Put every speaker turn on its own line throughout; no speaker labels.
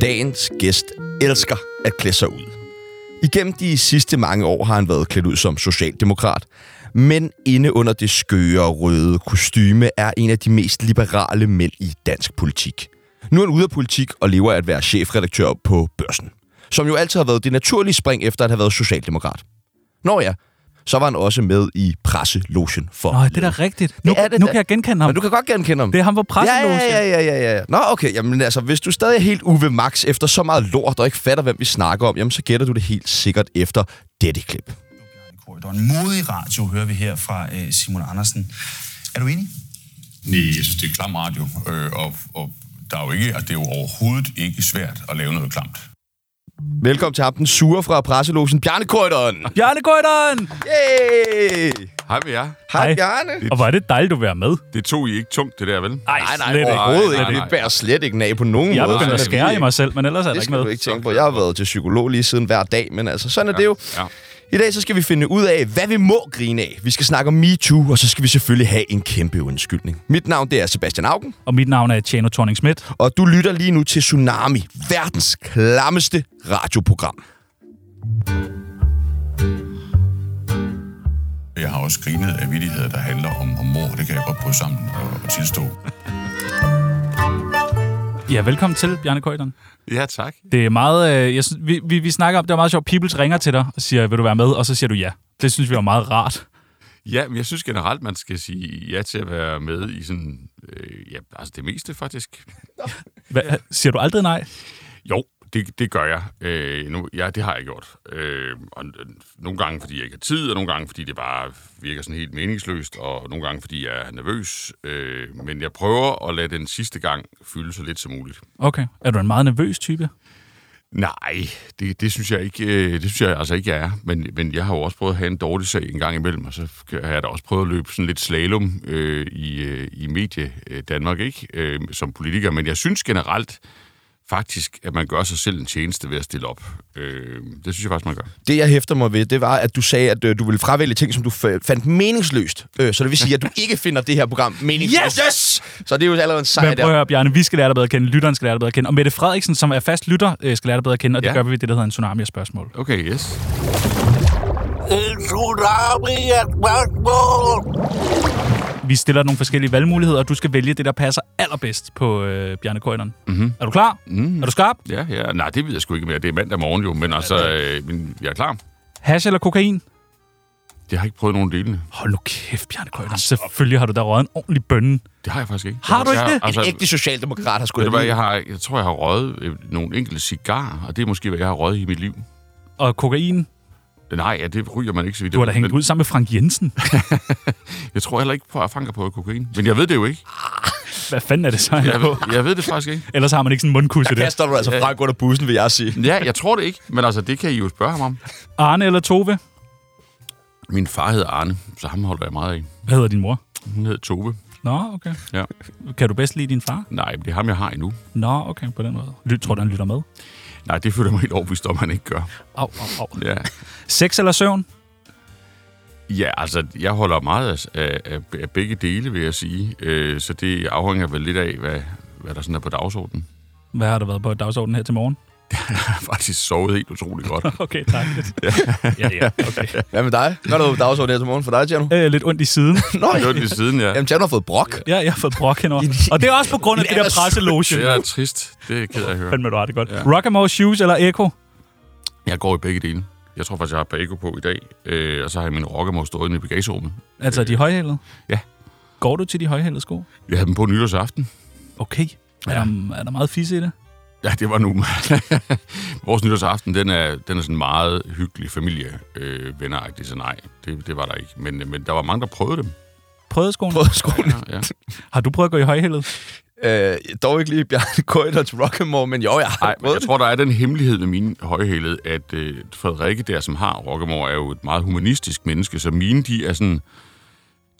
Dagens gæst elsker at klæde sig ud. Igennem de sidste mange år har han været klædt ud som socialdemokrat, men inde under det skøre røde kostyme er en af de mest liberale mænd i dansk politik. Nu er han ude af politik og lever af at være chefredaktør på Børsen, som jo altid har været det naturlige spring efter at have været socialdemokrat. Nå ja, så var han også med i presselogen for...
Nå, det er da rigtigt. Nu,
er det
nu
da.
kan jeg genkende ham.
Men du kan godt genkende ham.
Det er ham på presselogen.
Ja, ja, ja, ja, ja, ja. Nå, okay. Jamen altså, hvis du stadig er helt uve max efter så meget lort og ikke fatter, hvem vi snakker om, jamen så gætter du det helt sikkert efter dette klip.
i korridoren. Modig radio hører vi her fra øh, Simon Andersen. Er du enig?
Nej, jeg synes, det er klam radio. Øh, og, og der er jo ikke, altså, det er jo overhovedet ikke svært at lave noget klamt.
Velkommen til ham, den sure fra presselogen, Bjarne Korydon.
Bjarne Gøjderen!
Yay!
Hej med jer.
Hej,
Hej.
Bjarne.
Og var det dejligt at være med.
Det tog I ikke tungt, det der, vel?
Ej,
Nej, nej,
slet ikke.
overhovedet
Nej,
ikke.
nej,
Det
nej.
bærer slet ikke den af på nogen
Jeg er
måde.
begyndt at
Sådan er vi
skære i
ikke.
mig selv, men ellers er der
Det
ikke
skal du
med.
ikke tænke på. Jeg har været til psykolog lige siden hver dag, men altså, sådan er det jo.
ja.
I dag så skal vi finde ud af, hvad vi må grine af. Vi skal snakke om MeToo, og så skal vi selvfølgelig have en kæmpe undskyldning. Mit navn det er Sebastian Augen,
Og mit navn er Tjano thorning Schmidt.
og du lytter lige nu til Tsunami, verdens klammeste radioprogram.
Jeg har også grinet af vidigheder, der handler om, om mor. Det kan jeg godt bryde sammen og, og tilstå.
Ja, velkommen til, Bjarne Gøjderen.
Ja, tak.
Det er meget... Øh, jeg synes, vi, vi, vi snakker om, det var meget sjovt. Peoples ringer til dig og siger, vil du være med? Og så siger du ja. Det synes vi var meget rart.
Ja, men jeg synes generelt, man skal sige ja til at være med i sådan... Øh, ja, altså det meste faktisk.
Hva, Siger du aldrig nej?
Jo, det, det gør jeg. Øh, nu, ja, det har jeg gjort. Øh, og, øh, nogle gange, fordi jeg ikke har tid, og nogle gange, fordi det bare virker sådan helt meningsløst, og nogle gange, fordi jeg er nervøs. Øh, men jeg prøver at lade den sidste gang fylde så lidt som muligt.
Okay. Er du en meget nervøs type?
Nej, det, det synes jeg ikke, øh, det synes jeg altså ikke, jeg er. Men, men jeg har jo også prøvet at have en dårlig sag en gang imellem, og så kan- har jeg da også prøvet at løbe sådan lidt slalom øh, i, øh, i medie øh, Danmark, ikke? Øh, som politiker. Men jeg synes generelt faktisk, at man gør sig selv en tjeneste ved at stille op. Øh, det synes jeg faktisk, man gør.
Det, jeg hæfter mig ved, det var, at du sagde, at øh, du ville fravælge ting, som du f- fandt meningsløst. Øh, så det vil sige, at du ikke finder det her program meningsløst.
Yes!
yes! Så det er jo allerede en sejr
Men prøv at
der.
høre, Bjarne, vi skal lære dig bedre at kende, lytteren skal lære dig bedre at kende, og Mette Frederiksen, som er fast lytter, øh, skal lære dig bedre at kende, og det
Ja.
gør vi ved det, der hedder en tsunami af spørgsmål.
Okay, yes.
En tsunami af spørgsmål.
Vi stiller nogle forskellige valgmuligheder, og du skal vælge det, der passer allerbedst på øh, Bjarne Køjderen. Mm-hmm. Er du klar? Mm-hmm. Er du skarp?
Ja, ja. Nej, det ved jeg sgu ikke mere. Det er mandag morgen jo, men altså, øh, men jeg er klar.
Hash eller kokain?
Det har jeg ikke prøvet nogen delene.
Hold nu kæft, Bjarne Køjderen. Selvfølgelig har du da røget en ordentlig bønne.
Det har altså, jeg faktisk ikke.
Har du ikke
Jeg-
det? En
En ægte socialdemokrat har sgu
Ved du
da
hvad,
lige-
jeg, har, jeg tror, jeg har røget øh, nogle enkelte cigarer, og det er måske, hvad jeg har røget i mit liv.
Og kokain,
Nej, ja, det ryger man ikke, så vidt
du har da
ved,
hængt
men
ud sammen med Frank Jensen.
Jeg tror heller ikke på, at jeg fanker på kokain. Men jeg ved det jo ikke.
Hvad fanden er det så? han er
Jeg
på?
ved, jeg ved det faktisk ikke.
Ellers har man ikke sådan en mundkusse der.
Kaster du altså Frank under bussen, vil jeg sige.
Ja, jeg tror det ikke, men altså, det kan I jo spørge ham om.
Arne eller Tove?
Min far hedder Arne, så ham holder jeg meget af.
Hvad hedder din mor?
Hun hedder Tobe.
Nå, okay.
Ja.
Kan du bedst lide din far?
Nej, men det er ham, jeg har endnu.
Nå, okay, på den måde. Lyt, tror du, han lytter med?
Nej, det føler jeg mig helt overbevist om, han ikke gør.
Au, au, au.
Ja,
Sex eller søvn?
ja altså, jeg holder meget af, af, af, af begge dele, vil jeg sige. Øh, så det afhænger vel lidt af, hvad, hvad der sådan er på dagsordenen.
Hvad har der været på dagsordenen her til morgen?
Jeg har faktisk sovet helt utrolig godt.
Okay, tak. ja, ja, okay.
Hvad med dig? Hvad er der på dagsordenen her til morgen for dig, Tjerno?
Øh, lidt ondt i siden.
Nå,
Det var lige siden, ja.
Jamen, Tjerno har fået brok.
Ja, jeg har fået brok henover. Og det er også på grund af
En
det der
alderssyg-
presseloge.
Det er trist. Det er ked af at høre.
Fandme, du har det godt. Ja. Rockamore Shoes eller Echo?
Jeg går i begge dele. Jeg tror faktisk, jeg har Bago på i dag, øh, og så har jeg min rockermor stået inde i bagagerummet.
Altså, de højhælede?
Ja.
Går du til de højhælede sko?
Jeg havde dem på nytårsaften.
Okay. Er, der, er der meget fisse i det?
Ja, det var nu. Vores nytårsaften, den er, den er sådan meget hyggelig familie øh, venneragtig, så nej, det, det var der ikke. Men, men der var mange, der prøvede dem.
Prøvede skoene?
Prøv at skrue
Ja, ja.
Har du prøvet at gå i højhælede?
Øh, dog ikke lige Bjarne Køjderts Rock'n'Roll, men jo, jeg har Ej,
Ej, men jeg
prøvet det.
tror, der er den hemmelighed med mine højhælede, at øh, Frederikke der, som har Rockemore, er jo et meget humanistisk menneske, så mine, de er sådan...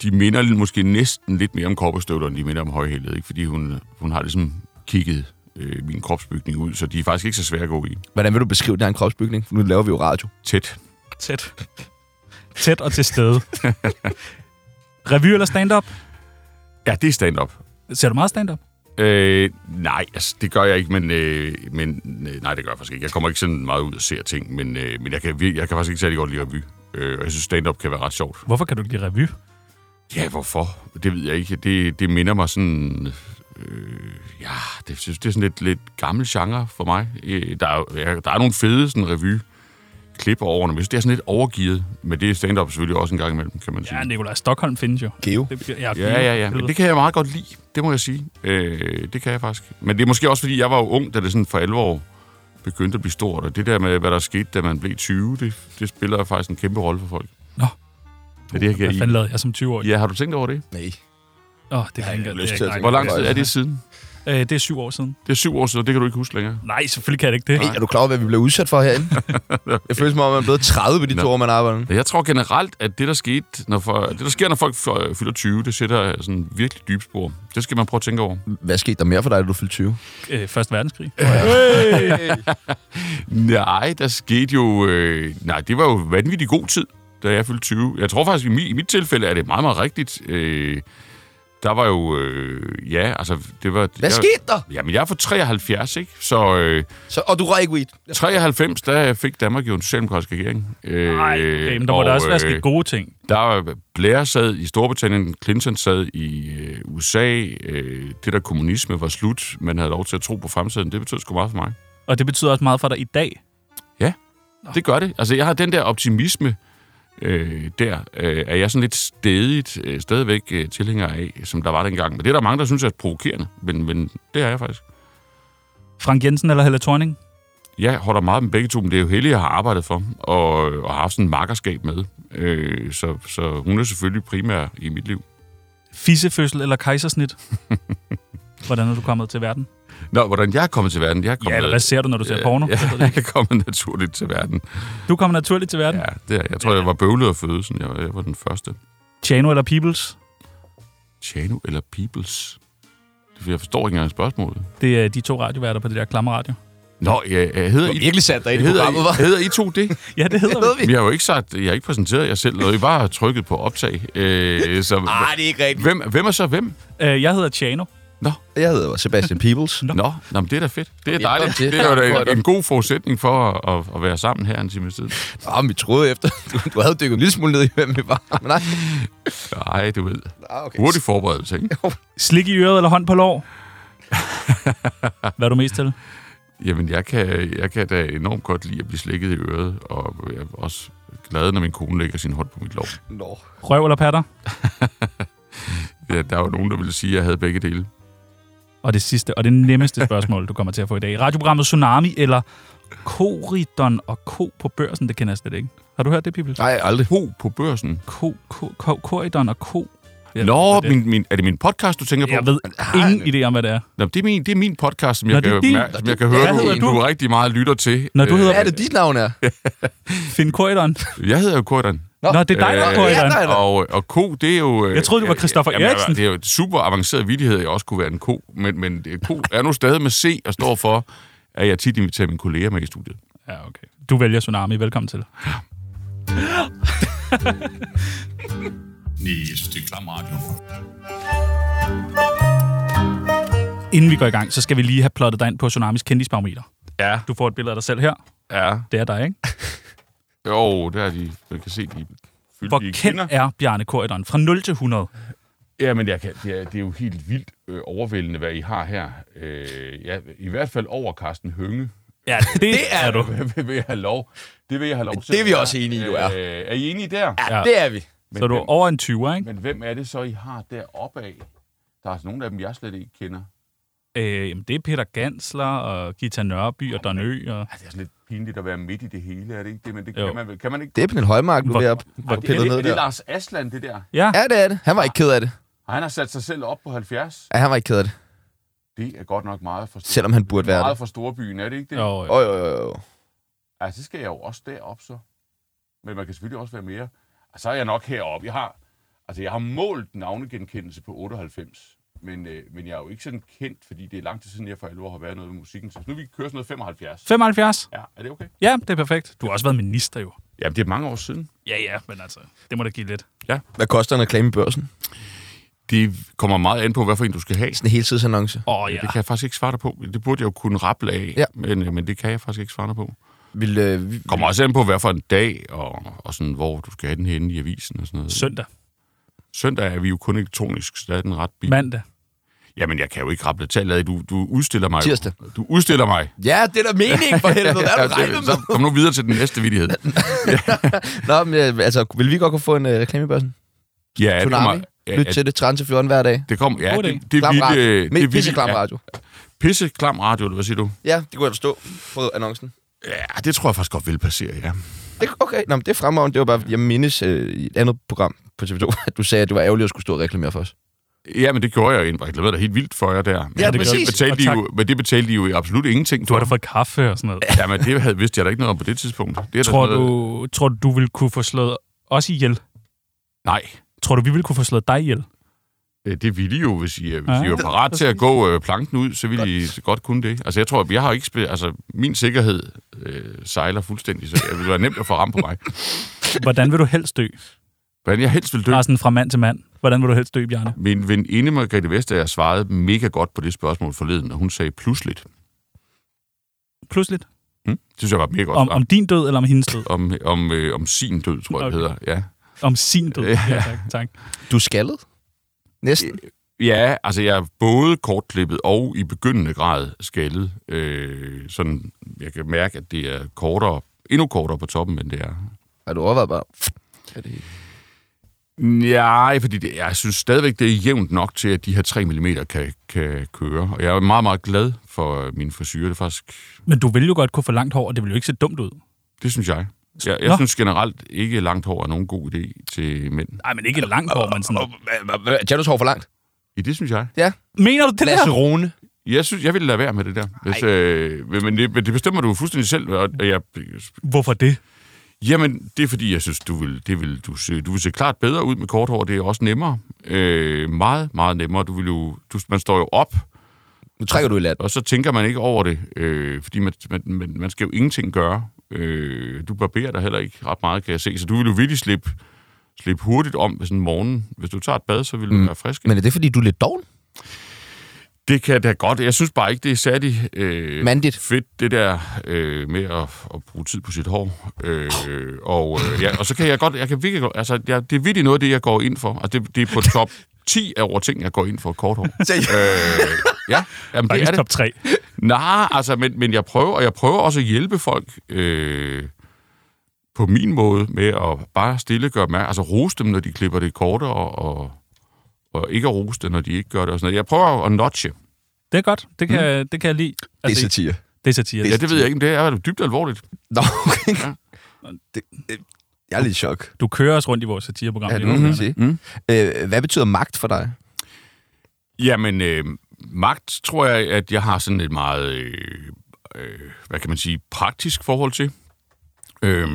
De minder lidt- måske næsten lidt mere om kopperstøvler, end de minder om højhælede, ikke? Fordi hun, hun har ligesom kigget øh, min kropsbygning ud, så de er faktisk ikke så svære at gå i.
Hvordan vil du beskrive den her kropsbygning? For nu laver vi jo radio.
Tæt.
Tæt. Tæt og til stede. Revy eller stand-up?
Ja, det er stand-up.
Ser du meget stand-up?
Øh, nej, altså, det gør jeg ikke, men, øh, men øh, nej, det gør jeg faktisk ikke. Jeg kommer ikke sådan meget ud og ser ting, men, øh, men jeg, kan, vir- jeg kan faktisk ikke særlig godt lide revy. Øh, og jeg synes, stand-up kan være ret sjovt.
Hvorfor kan du ikke lide revy?
Ja, hvorfor? Det ved jeg ikke. Det, det minder mig sådan... Øh, ja, det, det er sådan lidt, lidt gammel genre for mig. Øh, der, er, jo- ja, der er nogle fede sådan revy klip over årene, men jeg synes, det er sådan lidt overgivet. Men det er stand-up selvfølgelig også en gang imellem, kan man sige.
Ja, Nikolaj Stockholm findes jo.
Geo.
Det bliver, ja,
Ja, ja, ja. Men det kan jeg meget godt lide. Det må jeg sige. Øh, det kan jeg faktisk. Men det er måske også, fordi jeg var jo ung, da det sådan for alvor begyndte at blive stort. Og det der med, hvad der skete, da man blev 20, det, det spiller faktisk en kæmpe rolle for folk.
Nå.
Ja, det
Hvad
kan jeg
fanden lavede jeg som 20-årig?
Ja, har du tænkt over det?
Nej.
Åh, det har jeg ikke
lyst
det
til
har jeg
at-
ikke-
Hvor lang tid er det siden?
Øh, det er syv år siden.
Det er syv år siden, og det kan du ikke huske længere.
Nej, selvfølgelig kan jeg ikke det.
Hey, er du klar over, hvad vi blev udsat for herinde? Jeg føler som om, man er blevet 30 ved de
Nå.
to år, man arbejder. med.
Jeg tror generelt, at det, der, skete, når for, det, der sker, når folk f- fylder 20, det sætter sådan virkelig dybe spor. Det skal man prøve at tænke over.
Hvad skete der mere for dig, da du fyldte 20?
Øh, Første verdenskrig.
Nej, der skete jo... Øh, nej, det var jo vanvittig god tid, da jeg fyldte 20. Jeg tror faktisk, i, mi, i mit tilfælde er det meget, meget rigtigt. Øh, der var jo... Øh, ja, altså, det var...
Hvad
jeg,
skete der?
Jamen, jeg er fra 73, ikke? Så øh,
Så, og du røg ikke weed.
93, der fik Danmark jo en socialdemokratisk regering. Øh,
Nej, okay, men der må
og,
da også være sket
øh,
gode ting.
Der var Blair sad i Storbritannien, Clinton sad i øh, USA. Øh, det der kommunisme var slut. Man havde lov til at tro på fremtiden. Det betød sgu meget for mig.
Og det betyder også meget for dig i dag.
Det gør det. Altså, jeg har den der optimisme øh, der, øh, er jeg sådan lidt stedigt, øh, stadigvæk øh, tilhænger af, som der var dengang. Men det er der mange, der synes er provokerende, men, men det er jeg faktisk.
Frank Jensen eller Helle Thorning?
Jeg holder meget med begge to, men det er jo heldig, jeg har arbejdet for, og, og har haft sådan en makkerskab med. Øh, så, så hun er selvfølgelig primær i mit liv.
Fissefødsel eller kejsersnit? Hvordan er du kommet til verden?
Nå, hvordan jeg er kommet til verden? Jeg er kommet,
Ja, eller hvad ser du, når du ser porno?
Ja,
Jeg ved det
jeg
ikke.
er kommet naturligt til verden.
Du kommer naturligt til verden.
Ja, det er, jeg tror, jeg var bøvlet af fødelsen. Jeg, var- jeg var den første.
Chano eller Peoples?
Chano eller Peoples? Jeg forstår ikke engang spørgsmålet.
Det er de to radioværter på det der klamme radio.
Nå, jeg, jeg hedder... I,
virkelig sat dig ind i
hedder,
programmet, hva'?
I, hedder I to det?
Ja, det hedder vi.
Men jeg har jo ikke sagt, jeg har ikke præsenteret jer selv noget. I bare har trykket på optag. Øh, så,
Nej, det er ikke rigtigt.
hvem, hvem er så hvem?
Øh, Jeg hedder Chano.
Jeg hedder Sebastian Peebles.
Nå, nå men det er da fedt. Det er
Velkommen
dejligt.
til.
Det er jo
Godt.
da en, en god forudsætning for at, at, at være sammen her en times tid.
Ah, men vi troede efter. Du, du havde dykket en lille smule ned i, hvem vi var. Men nej.
Nej, du ved.
Ah, okay.
Hurtig forberedelse, ikke?
Slik i øret eller hånd på lår? Hvad er du mest til?
Jamen, jeg kan, jeg kan da enormt godt lide at blive slikket i øret, og jeg er også glad, når min kone lægger sin hånd på mit lov.
Nå.
Røv eller patter?
Ja, der var nogen, der ville sige, at jeg havde begge dele.
Og det sidste og det nemmeste spørgsmål, du kommer til at få i dag. Radioprogrammet Tsunami eller Koridon og Ko på børsen, det kender jeg slet ikke. Har du hørt det, Pibel?
Nej, aldrig.
Ho på børsen.
Ko, ko, ko, Koridon og Ko. Jeg
Nå,
ved det.
min, min, er det min podcast, du tænker på?
Jeg ved ingen idé om, hvad det er.
Nå, det, er min, det er min podcast, som
Nå,
jeg,
det er
kan,
din.
mærke, som
Nå, det-
jeg kan høre,
Hvad hedder
du,
du?
du rigtig meget lytter til.
Når du hedder-
Hvad er det, dit navn er?
Finn Koridon.
Øh, jeg hedder jo Kurtan.
Nå.
Nå, Øh, det er dig, der er Koridon.
nej, nej.
og, og ko, det er jo... øh,
Jeg troede, du var
ja,
Christoffer
jamen,
Eriksen.
Det er jo et super avanceret vidighed, at jeg også kunne være en ko. Men, men øh, ko er nu stadig med C og står for, at jeg tit inviterer mine kolleger med i studiet.
Ja, okay. Du vælger Tsunami. Velkommen til.
Nej, jeg synes, det er klam radio.
Inden vi går i gang, så skal vi lige have plottet dig ind på Tsunamis kendisbarometer.
Ja.
Du får et billede af dig selv her.
Ja.
Det er dig, ikke?
Jo, der er de... Man kan se, de fyldt
Hvor kendt er Bjarne Korydon? Fra 0 til 100.
Ja, men jeg kan, det, er, det er jo helt vildt øh, overvældende, hvad I har her. Øh, ja, I hvert fald over Carsten Hønge.
Ja, det, det er du.
Hvad vil jeg have lov? Det vil jeg have lov til.
det er vi også enige i, du er.
Øh, er I enige der?
Ja.
Det er vi.
Så er du over en 20, ikke?
Men hvem er det så, I har deroppe af? Der er altså nogle af dem, jeg slet ikke kender.
Øh, jamen, det er Peter Gansler og Gita Nørby og Don Ø. Og...
Det er sådan lidt pinligt at være midt i det hele, er det ikke det? Men det
Jo.
kan man, vel- kan man ikke...
Det er Pernille Højmark, du
Hvor-
er ved at
hvor-
at
er
pille
det,
ned
er det
der.
Lars Asland, det der?
Ja,
Ja, det er det. Han var ikke ked af det.
Han har sat sig selv op på 70.
Ja, han var ikke ked af det.
Det er godt nok meget for,
Selvom han burde være
meget
det.
for storbyen, er det ikke det?
jo, jo.
Åh, jo, jo, jo.
Altså, så skal jeg jo også derop så. Men man kan selvfølgelig også være mere. Og så er jeg nok heroppe. Jeg har, altså, jeg har målt navnegenkendelse på 98. Men, øh, men jeg er jo ikke sådan kendt, fordi det er lang tid siden, jeg for alvor har været noget med musikken. Så nu vi kører sådan noget 75.
75?
Ja, er det okay?
Ja, det er perfekt. Du har også været minister jo.
Jamen, det er mange år siden.
Ja, ja, men altså, det må da give lidt.
Hvad koster en reklame i børsen?
Det kommer meget an på, hvad for en du skal have.
Sådan en heltidsannonce.
Åh, oh,
Ja.
ja.
Det kan jeg faktisk ikke svare dig på. Det burde jeg jo kunne raple af,
Ja.
ja. men, øh, men det kan jeg faktisk ikke svare dig på.
Vil, øh, vi,
Kommer også an på, hvad for en dag, og, og sådan, hvor du skal have den henne i avisen og sådan noget.
Søndag,
Søndag er vi jo kun elektronisk, så der er den ret bil.
mandag.
Jamen, jeg kan jo ikke rappe tallet af. Du, du udstiller mig. jo.
Tirsdag.
Du udstiller mig.
ja, det er da meningen for helvede. Hvad er du regnet med?
så kom nu videre til den næste vidighed.
Nå, men øh, altså, vil vi godt kunne få en øh, reklame i børsen?
Ja, det
Tsunami.
kommer... Ja,
Lyt
ja,
til det øh, 13-14 hver dag.
det kommer... Ja,
God
det,
idé.
det, øh, det
Klam radio.
ville...
Men pisseklam
ja,
radio.
pisseklam radio, eller hvad siger du?
Ja, det kunne jeg forstå på annoncen.
Ja, det tror jeg faktisk godt vil passere, ja.
Det, okay, Nå, men det er fremragende. Det var bare, fordi jeg mindes øh, i et andet program på TV2, at du sagde, at det var ærgerligt at skulle stå og reklamere for os.
Ja, men det gjorde jeg jo egentlig. Jeg reklamerede da helt vildt for jer der. Men,
Ja,
det,
præcis.
Betalte de
Og
jo, men det betalte de jo i absolut ingenting
Du har da
for.
fået kaffe og sådan noget.
Ja, men det havde, vidste jeg da ikke noget om på det tidspunkt. Det er da
Tror
sådan
du,
noget-
tror du, du ville kunne få slået os ihjel?
Nej,
Tror du, vi ville kunne få slået dig ihjel?
Øh, det ville I jo, hvis I, øh, hvis
Ja,
ja, I var
det-
parat til at gå øh, planken ud, så ville godt. I godt kunne det. Altså, jeg tror, jeg har ikke spillet... Altså, min sikkerhed øh, sejler fuldstændig, så det ville være nemt at få ramt på mig.
Hvordan vil du helst dø?
Hvordan jeg helst ville dø.
Bare sådan fra mand til mand. Hvordan vil du helst dø, Bjarne?
Min veninde Margrethe Vestager svarede mega godt på det spørgsmål forleden, og hun sagde pludseligt.
Pludseligt.
Hm? Det synes jeg var et mega godt
Om,
svar.
om din død eller om hendes død?
om, om, øh, om sin død, tror jeg, okay. det hedder. Ja.
Om sin død.
Ja.
Ja, tak. tak.
Du skaldet? Næsten.
Ja, altså jeg er både kortklippet og i begyndende grad skaldet. Øh, sådan, jeg kan mærke, at det er kortere, endnu kortere på toppen, end det er.
Har du overvejet bare...
Nej, fordi det, jeg synes stadigvæk, det er jævnt nok til, at de her 3 mm kan, kan køre. Og jeg er meget, meget glad for øh, min frisyr. Det, er faktisk,
Men du ville jo godt kunne få langt hår, og det ville jo ikke se dumt ud.
det synes jeg. Jeg, jeg
Nå.
synes generelt ikke langt hår er nogen god idé til mænd.
Nej, men ikke langt hår, men sådan...
Janus hår for langt.
I det synes jeg.
Mener du det
Lasse
der?
Rune. jeg
Jeg synes, jeg ville lade være med det der. Hvis, øh, men, men det, men det bestemmer du fuldstændig selv. Og og jeg,
Hvorfor det?
jamen, det er fordi, jeg synes, du vil, det vil, du, se, du vil se klart bedre ud med kort hår. Det er også nemmere. Øh, meget, meget nemmere. Du vil jo, du, man står jo op,
Nu trækker du i land.
og så tænker man ikke over det, øh, fordi man, man, man, man skal jo ingenting gøre. Øh, du barberer dig heller ikke ret meget, kan jeg se. Så du vil jo virkelig slippe, slippe hurtigt om ved sådan en morgen. Hvis du tager et bad, så vil du mm. være frisk.
Men er det, fordi du er lidt doven?
Det kan jeg da godt. Jeg synes bare ikke, det er særlig øh,
Mandigt.
fedt, det der øh, med at, at bruge tid på sit hår. Øh, og, øh, ja, og så kan jeg godt, jeg kan virkelig godt, altså jeg, det er virkelig noget af det, jeg går ind for. Altså det, det er på top 10 af over ting, jeg går ind for kort hår. øh, ja, jamen, det
Faktisk
er
top
det.
3.
Nej, altså, men, men jeg prøver, og jeg prøver også at hjælpe folk øh, på min måde med at bare stille gøre mærke, altså rose dem, når de klipper det kortere, og, og, og ikke at rose det, når de ikke gør det og sådan noget. Jeg prøver at notche.
Det er godt. Det kan, det kan jeg lide. Altså,
satire.
det er satire.
Ja, det ved jeg ikke, men det er jo dybt alvorligt.
Nå, okay. Det, øh, jeg er lidt i chok.
Du kører os rundt i vores satireprogram.
Ja,
lige
det
nu,
må man
Mhm.
Bjarne.
sige. Øh, hvad betyder magt for dig?
Jamen, øh, magt tror jeg, at jeg har sådan et meget, øh, øh, hvad kan man sige, praktisk forhold til. Øh,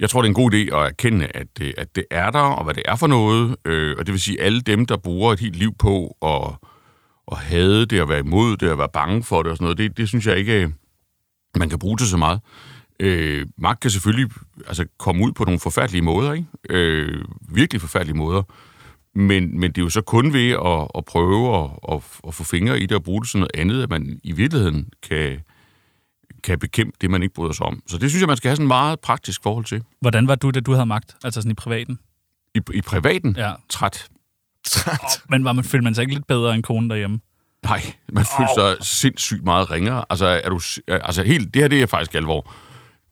jeg tror, det er en god idé at erkende, at, øh, at det er der, og hvad det er for noget. Øh, og det vil sige, alle dem, der bruger et helt liv på at, at hade det, at være imod det, at være bange for det og sådan noget, det, det synes jeg ikke... Øh, man kan bruge til så meget. Øh, magt kan selvfølgelig altså, komme ud på nogle forfærdelige måder, ikke? Øh, virkelig forfærdelige måder. Men, men det er jo så kun ved at, at prøve at, at, at få fingre i det og bruge det til noget andet, at man i virkeligheden kan, kan bekæmpe det, man ikke bryder sig om. Så det synes jeg, man skal have sådan et meget praktisk forhold til.
Hvordan var du, da du havde magt? Altså sådan i privaten?
I, i privaten,
Ja.
træt.
Men var man, følte man sig ikke lidt bedre end konen derhjemme?
Nej, man føler sig sindssygt meget ringere. Altså, er du, si- altså helt, det her det er faktisk alvor.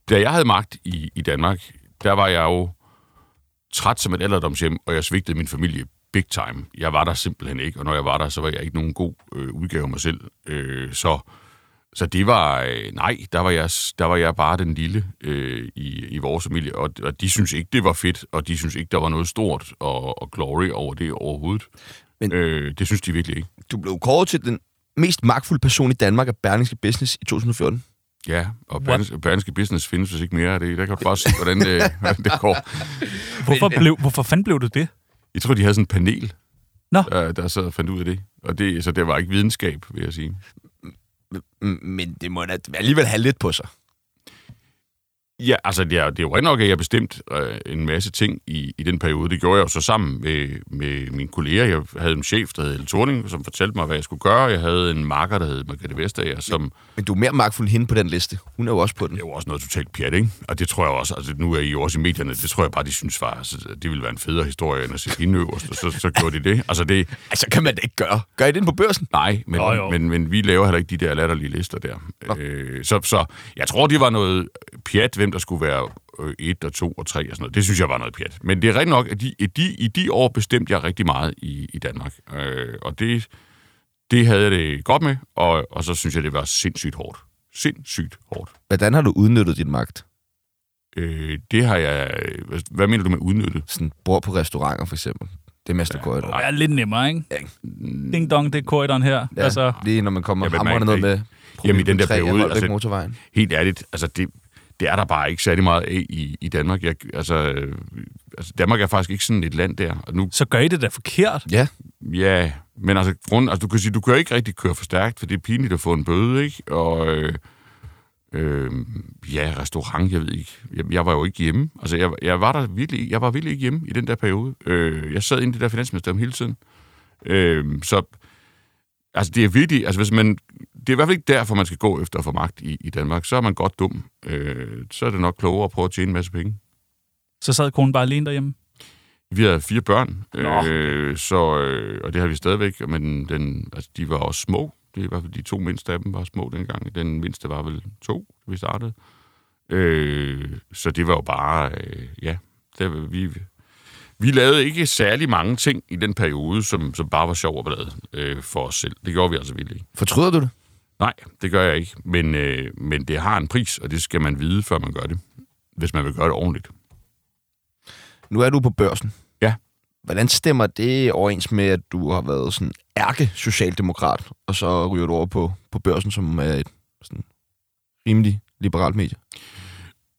Da jeg havde magt i, i Danmark, der var jeg jo træt som et alderdomshjem, og jeg svigtede min familie big time. Jeg var der simpelthen ikke, og når jeg var der, så var jeg ikke nogen god øh, udgave af mig selv. Øh, så, så det var, øh, nej, der var, jeg, s- der var jeg bare den lille øh, i, i vores familie, og, og de synes ikke, det var fedt, og de synes ikke, der var noget stort og, og glory over det overhovedet.
Men-
Men, øh, det synes de virkelig ikke.
Du blev kåret til den mest magtfulde person i Danmark af Berlingske Business i 2014.
Ja, og Berlingske, Berlingske Business findes hvis ikke mere af det. Der kan du bare se, hvordan det, hvordan det går.
Hvorfor, blev, hvorfor fanden blev du det?
Jeg tror, de havde sådan et panel,
Nå.
der, der sad og fandt ud af det. Og det, så det var ikke videnskab, vil jeg sige.
Mm, Men det må da alligevel have lidt på sig.
Ja, altså det er, det er jo rigtig nok, at jeg bestemt øh, en masse ting i, i den periode. Det gjorde jeg jo så sammen med, med mine kolleger. Jeg havde en chef, der hed Elle Thorning, som fortalte mig, hvad jeg skulle gøre. Jeg havde en marker, der hed Margrethe Vestager, som
Men du er mere magtfuld end hende på den liste. Hun er jo også på den.
det er jo også noget totalt pjat, ikke? Og det tror jeg også, altså nu er I jo også i medierne, det tror jeg bare, de synes var, altså, det ville være en federe historie, end at sætte hende øverst, og så, så gjorde de det. Altså det,
Altså, kan man da ikke gøre. Gør I den på børsen?
Nej, men,
Nå,
Nå,
jo.
men, men, men vi laver heller ikke de der latterlige lister der. Øh, så, så jeg tror, det var noget pjat, hvem der skulle være øh, et og to og tre og sådan noget. Det synes jeg var noget pjat. Men det er rigtigt nok, at de, at de, i de år bestemte jeg rigtig meget i, i Danmark. Øh, og det, det havde jeg det godt med, og, og så synes jeg, det var sindssygt hårdt. Sindssygt hårdt.
Hvordan har du udnyttet din magt?
Øh, det har jeg... Hvad, hvad mener du med udnyttet?
Sådan bor på restauranter, for eksempel. Det er mester ja,
Det er lidt nemmere, ikke? Ding dong, det er korridoren her.
Ja, altså, lige når man kommer
Jeg vil
hamrende ned
mærke
med
det Jamen, i den der periode,
altså,
altså-
motorvejen.
helt ærligt, altså det, det er der bare ikke særlig meget af i, i Danmark. Jeg, altså, øh, altså, Danmark er faktisk ikke sådan et land der. Og nu,
Så gør I det da forkert.
Ja,
ja, men altså, grund, altså du kan sige, du kan ikke rigtig køre for stærkt, for det er pinligt at få en bøde, ikke? Og øh, øh, ja, restaurant, jeg ved ikke. Jeg, jeg var jo ikke hjemme. Altså, jeg, jeg var der virkelig, jeg var virkelig ikke hjemme i den der periode. Øh, jeg sad inde i det der finansministerium hele tiden. Øh, så Altså, det er virkelig... Altså, hvis man, det er i hvert fald ikke derfor, man skal gå efter at få magt i, i Danmark. Så er man godt dum. Øh, så er det nok klogere at prøve at tjene en masse penge.
Så sad konen bare alene derhjemme.
Vi havde fire børn,
Nå.
øh, så, øh, og det har vi stadigvæk, men den, altså, de var også små. Det er i hvert fald de to mindste af dem var små dengang. Den mindste var vel to, da vi startede. Øh, så det var jo bare, øh, ja, det, vi, vi lavede ikke særlig mange ting i den periode, som, som bare var sjov og ballade øh, for os selv. Det gjorde vi altså virkelig ikke.
fortryder du det?
Nej, det gør jeg ikke. Men, øh, men det har en pris, og det skal man vide, før man gør det. Hvis man vil gøre det ordentligt.
Nu er du på børsen.
Ja.
Hvordan stemmer det overens med, at du har været sådan ærke-socialdemokrat, og så ryger du over på, på børsen, som er et sådan rimelig liberalt medie?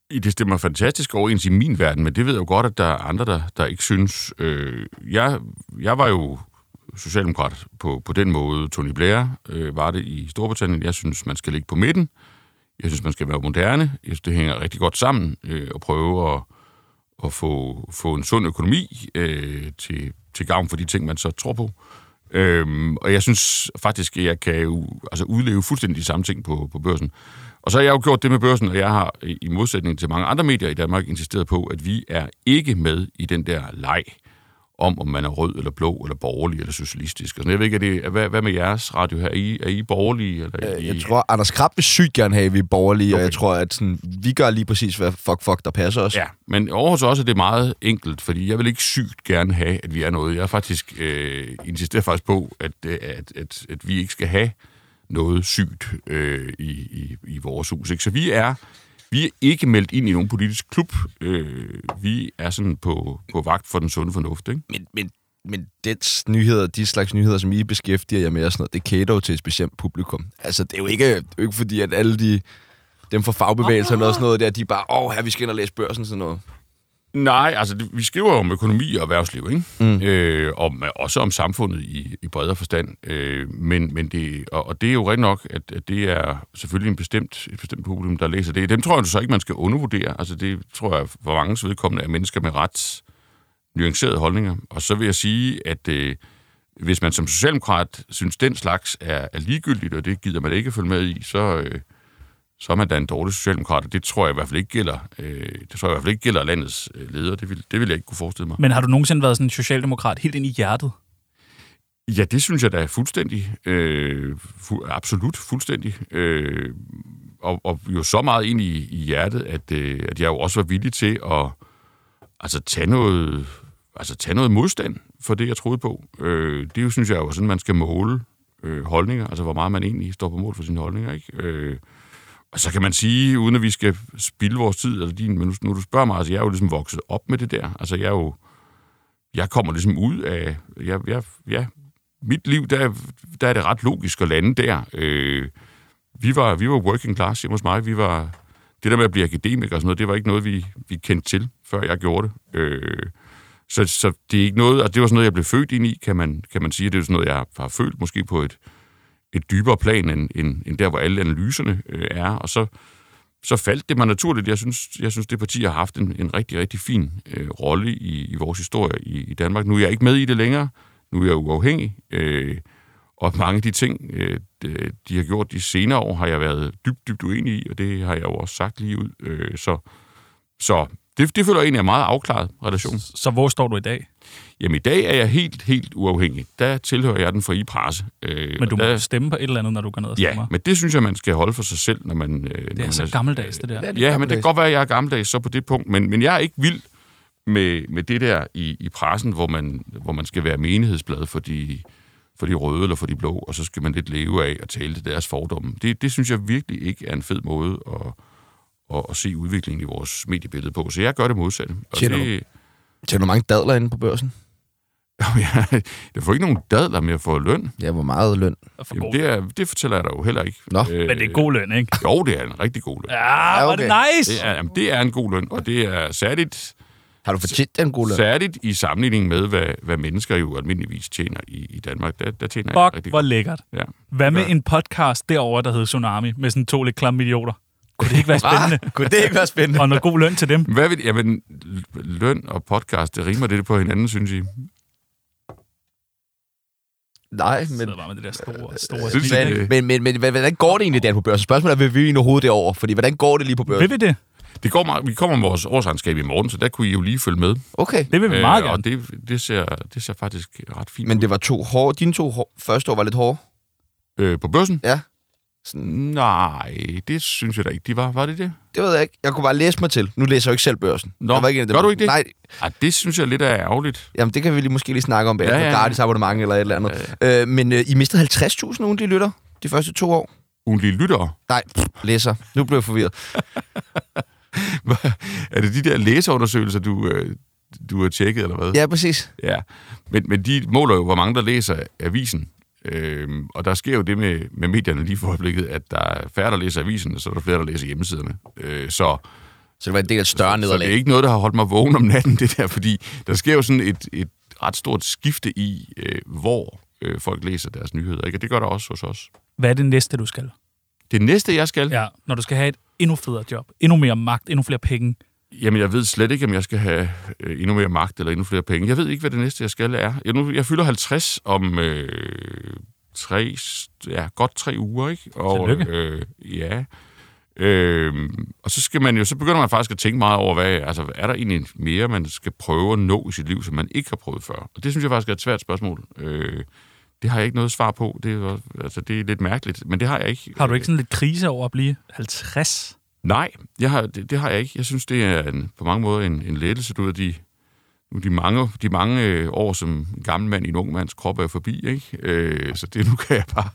I Det stemmer fantastisk overens i min verden, men det ved jeg jo godt, at der er andre, der, der ikke synes. Øh, jeg, jeg var jo socialdemokrat på, på den måde. Tony Blair øh, var det i Storbritannien. Jeg synes, man skal ligge på midten. Jeg synes, man skal være moderne. Jeg synes, det hænger rigtig godt sammen øh, at prøve at, at få, få en sund økonomi øh, til, til gavn for de ting, man så tror på. Øhm, og jeg synes faktisk, at jeg kan jo, altså udleve fuldstændig de samme ting på, på børsen. Og så har jeg jo gjort det med børsen, og jeg har i i modsætning til mange andre medier i Danmark insisteret på, at vi er ikke med i den der leg om, om man er rød eller blå eller borgerlig eller socialistisk. Og sådan. Jeg ved ikke, er det, hvad, hvad med jeres radio her? Er I, er I borgerlige? Eller er I,
Øh, Jeg tror, Anders Krab vil sygt gerne have, at vi er borgerlige, okay. og jeg tror, at sådan, vi gør lige præcis, hvad fuck fuck, der passer os.
Ja, men over hos os er det meget enkelt, fordi jeg vil ikke sygt gerne have, at vi er noget. Jeg er faktisk øh, insisterer faktisk på, at, øh, at, at, at vi ikke skal have noget sygt øh, i, i, i vores hus. Ikke? Så vi er, vi er ikke meldt ind i nogen politisk klub. Øh, vi er sådan på, på vagt for den sunde fornuft. Ikke?
Men, men, men dets nyheder, de slags nyheder, som I beskæftiger jer med og sådan noget, det cater jo til et specielt publikum. Altså, det er jo ikke, det er jo ikke fordi, at alle de, dem fra fagbevægelserne og sådan noget der, de er bare, åh, her, vi skal ind og læse børsen sådan noget.
Nej, altså det, vi skriver jo om økonomi og erhvervsliv, ikke? Mm. Øh, om, også om samfundet i, i bredere forstand. Øh, men, men det, og, og det er jo rigtigt nok, at, at det er selvfølgelig en bestemt, et bestemt publikum, der læser det. Dem tror jeg så ikke, man skal undervurdere. Altså det tror jeg for mange vedkommende er mennesker med ret nuancerede holdninger. Og så vil jeg sige, at øh, hvis man som socialdemokrat synes, den slags er, er ligegyldigt, og det gider man ikke følge med i, så... Øh, så er man da en dårlig socialdemokrat, og det tror jeg i hvert fald ikke gælder, øh, det tror jeg i hvert fald ikke gælder landets øh, ledere. Det vil, det vil jeg ikke kunne forestille mig.
Men har du nogensinde været sådan en socialdemokrat helt ind i hjertet?
Ja, det synes jeg da er fuldstændig, øh, fu- absolut fuldstændig. Øh, og, og jo så meget ind i, i hjertet, at, øh, at jeg jo også var villig til at altså, tage, noget, altså, tage noget modstand for det, jeg troede på. Øh, det jo, synes jeg jo er sådan, man skal måle øh, holdninger, altså hvor meget man egentlig står på mål for sine holdninger. Ikke? Øh, og så kan man sige, uden at vi skal spilde vores tid, eller din, men nu, nu du spørger mig, altså jeg er jo ligesom vokset op med det der. Altså jeg er jo, jeg kommer ligesom ud af, jeg, jeg, ja, mit liv, der, der er det ret logisk at lande der. Øh, vi, var, vi var working class hjemme hos mig. Vi var, det der med at blive akademiker og sådan noget, det var ikke noget, vi, vi kendte til, før jeg gjorde det. Øh, så, så det er ikke noget, og det var sådan noget, jeg blev født ind i, kan man, kan man sige. Det er jo sådan noget, jeg har, har følt måske på et, et dybere plan, end, end, end der, hvor alle analyserne øh, er. Og så så faldt det mig naturligt. Jeg synes, jeg synes det parti har haft en, en rigtig, rigtig fin øh, rolle i, i vores historie i, i Danmark. Nu er jeg ikke med i det længere. Nu er jeg uafhængig. Øh, og mange af de ting, øh, de, de har gjort de senere år, har jeg været dybt, dybt uenig i, og det har jeg jo også sagt lige ud. Øh, så så det, det føler jeg egentlig er en meget afklaret relation.
Så hvor står du i dag?
Jamen i dag er jeg helt, helt uafhængig. Der tilhører jeg den frie presse. Øh,
Men
og
du
der,
må stemme på et eller andet, når du går ned og stemmer.
Ja, men det synes jeg, man skal holde for sig selv, når man... Øh, når
det er
man
så gammeldags, det der.
det er lidt
Ja, men det
gammeldags.
kan godt være, at jeg er gammeldags så på det punkt, men, men jeg er ikke vild med, med det der i, i pressen, hvor man, hvor man skal være menighedsblad for de, for de røde eller for de blå, og så skal man lidt leve af at tale til deres fordomme. Det, det synes jeg virkelig ikke er en fed måde at, at, at se udviklingen i vores mediebillede på. Så jeg gør det modsatte. Og
Tjener
det,
Tjener du mange dadler inde på børsen?
jeg, jeg får ikke nogen dadler med at få løn.
Ja, hvor meget løn?
Og for
Jamen,
god.
det, er, det fortæller jeg dig jo heller ikke.
Nå.
Øh,
Men det er god løn, ikke?
Jo, det er en rigtig god løn.
Ja, var det
okay.
nice!
Det er, jamen, det er en god løn, og det er særligt,
Har du fortjent den gode løn?
særligt i sammenligning med, hvad, hvad mennesker jo almindeligvis tjener i, i Danmark. Der, der tjener jeg
Fuck,
rigtig
hvor
godt.
lækkert.
Ja.
Hvad med en podcast derovre, der hedder Tsunami, med sådan to lidt klamme idioter? Kunne det ikke være spændende?
Ah, Kunne det ikke være spændende?
Og noget god løn til dem?
Hvad vil, jamen, l- løn og podcast, det rimer det på hinanden, synes I?
Nej,
Men,
men...
bare med det der
Øh,
store, store
Synes
smil,
jeg,
ikke?
det-
Men, men, men, men hvordan går det egentlig der på børsen? Spørgsmålet er, vil vi egentlig overhovedet derover? Fordi hvordan går det lige på
Vil
børsen?
vi det?
Det går meget, vi kommer med vores årsregnskab i morgen, så der kunne I jo lige følge med. Øh,
Okay.
Det vil vi meget
og
gerne.
det, det, ser, det ser faktisk ret fint
Men det var to hårde. Dine to hår, første år var lidt hårde.
ud. Øh, på børsen?
Ja.
Nej, det synes jeg da ikke. De var, var det det?
Det ved jeg ikke. Jeg kunne bare læse mig til. Nu læser jeg jo ikke selv børsen.
Nå,
jeg var ikke en af dem.
gør du ikke det?
Nej,
Ah, det synes jeg lidt er ærgerligt.
jamen det kan vi lige, måske lige snakke om bagefter. Ja,
Ja,
ja,
ja,
ja.
ja.
Gratis abonnement eller et eller andet. Ja, ja. Øh, men øh, I mistede 50.000 ugentlige lytter de første to år.
Ugentlige lyttere.
Nej, læser. Nu blev jeg forvirret.
er det de der læseundersøgelser, du, øh, du har tjekket, eller hvad?
Ja, præcis.
Ja, men, men de måler jo, hvor mange der læser avisen. Øhm, og der sker jo det med, med medierne lige for øjeblikket, at der er færre, der læser avisen, og så er der flere, der læser hjemmesiderne. Øh, så,
Så det var en del af et større
så det
nederlag.
er ikke noget, der har holdt mig vågen om natten, det der, fordi der sker jo sådan et, et ret stort skifte i, øh, hvor øh, folk læser deres nyheder. Ikke? Og det gør der også hos os.
Hvad er det næste, du skal?
Det næste, jeg skal,
Ja, når du skal have et endnu federe job, endnu mere magt, endnu flere penge.
Jamen, jeg ved slet ikke, om jeg skal have øh, endnu mere magt eller endnu flere penge. Jeg ved ikke, hvad det næste, jeg skal, er. Jeg, nu, jeg fylder 50 om øh, tre, ja, godt tre uger, ikke? Og,
Tillykke.
øh, ja. Øh, og så, skal man jo, så begynder man faktisk at tænke meget over, hvad, altså, er der egentlig mere, man skal prøve at nå i sit liv, som man ikke har prøvet før? Og det synes jeg faktisk er et svært spørgsmål. Øh, det har jeg ikke noget svar på. Det er, jo- altså, det er lidt mærkeligt, men det har jeg ikke.
Har du ikke sådan lidt krise over at blive 50?
Nej, jeg har, det, det har jeg ikke. Jeg synes, det er en, på mange måder en, en lettelse. Du ved, de, nu de mange, de mange øh, år som en gammel mand i en ung mands krop er forbi, ikke? Øh, så det, nu, kan jeg bare,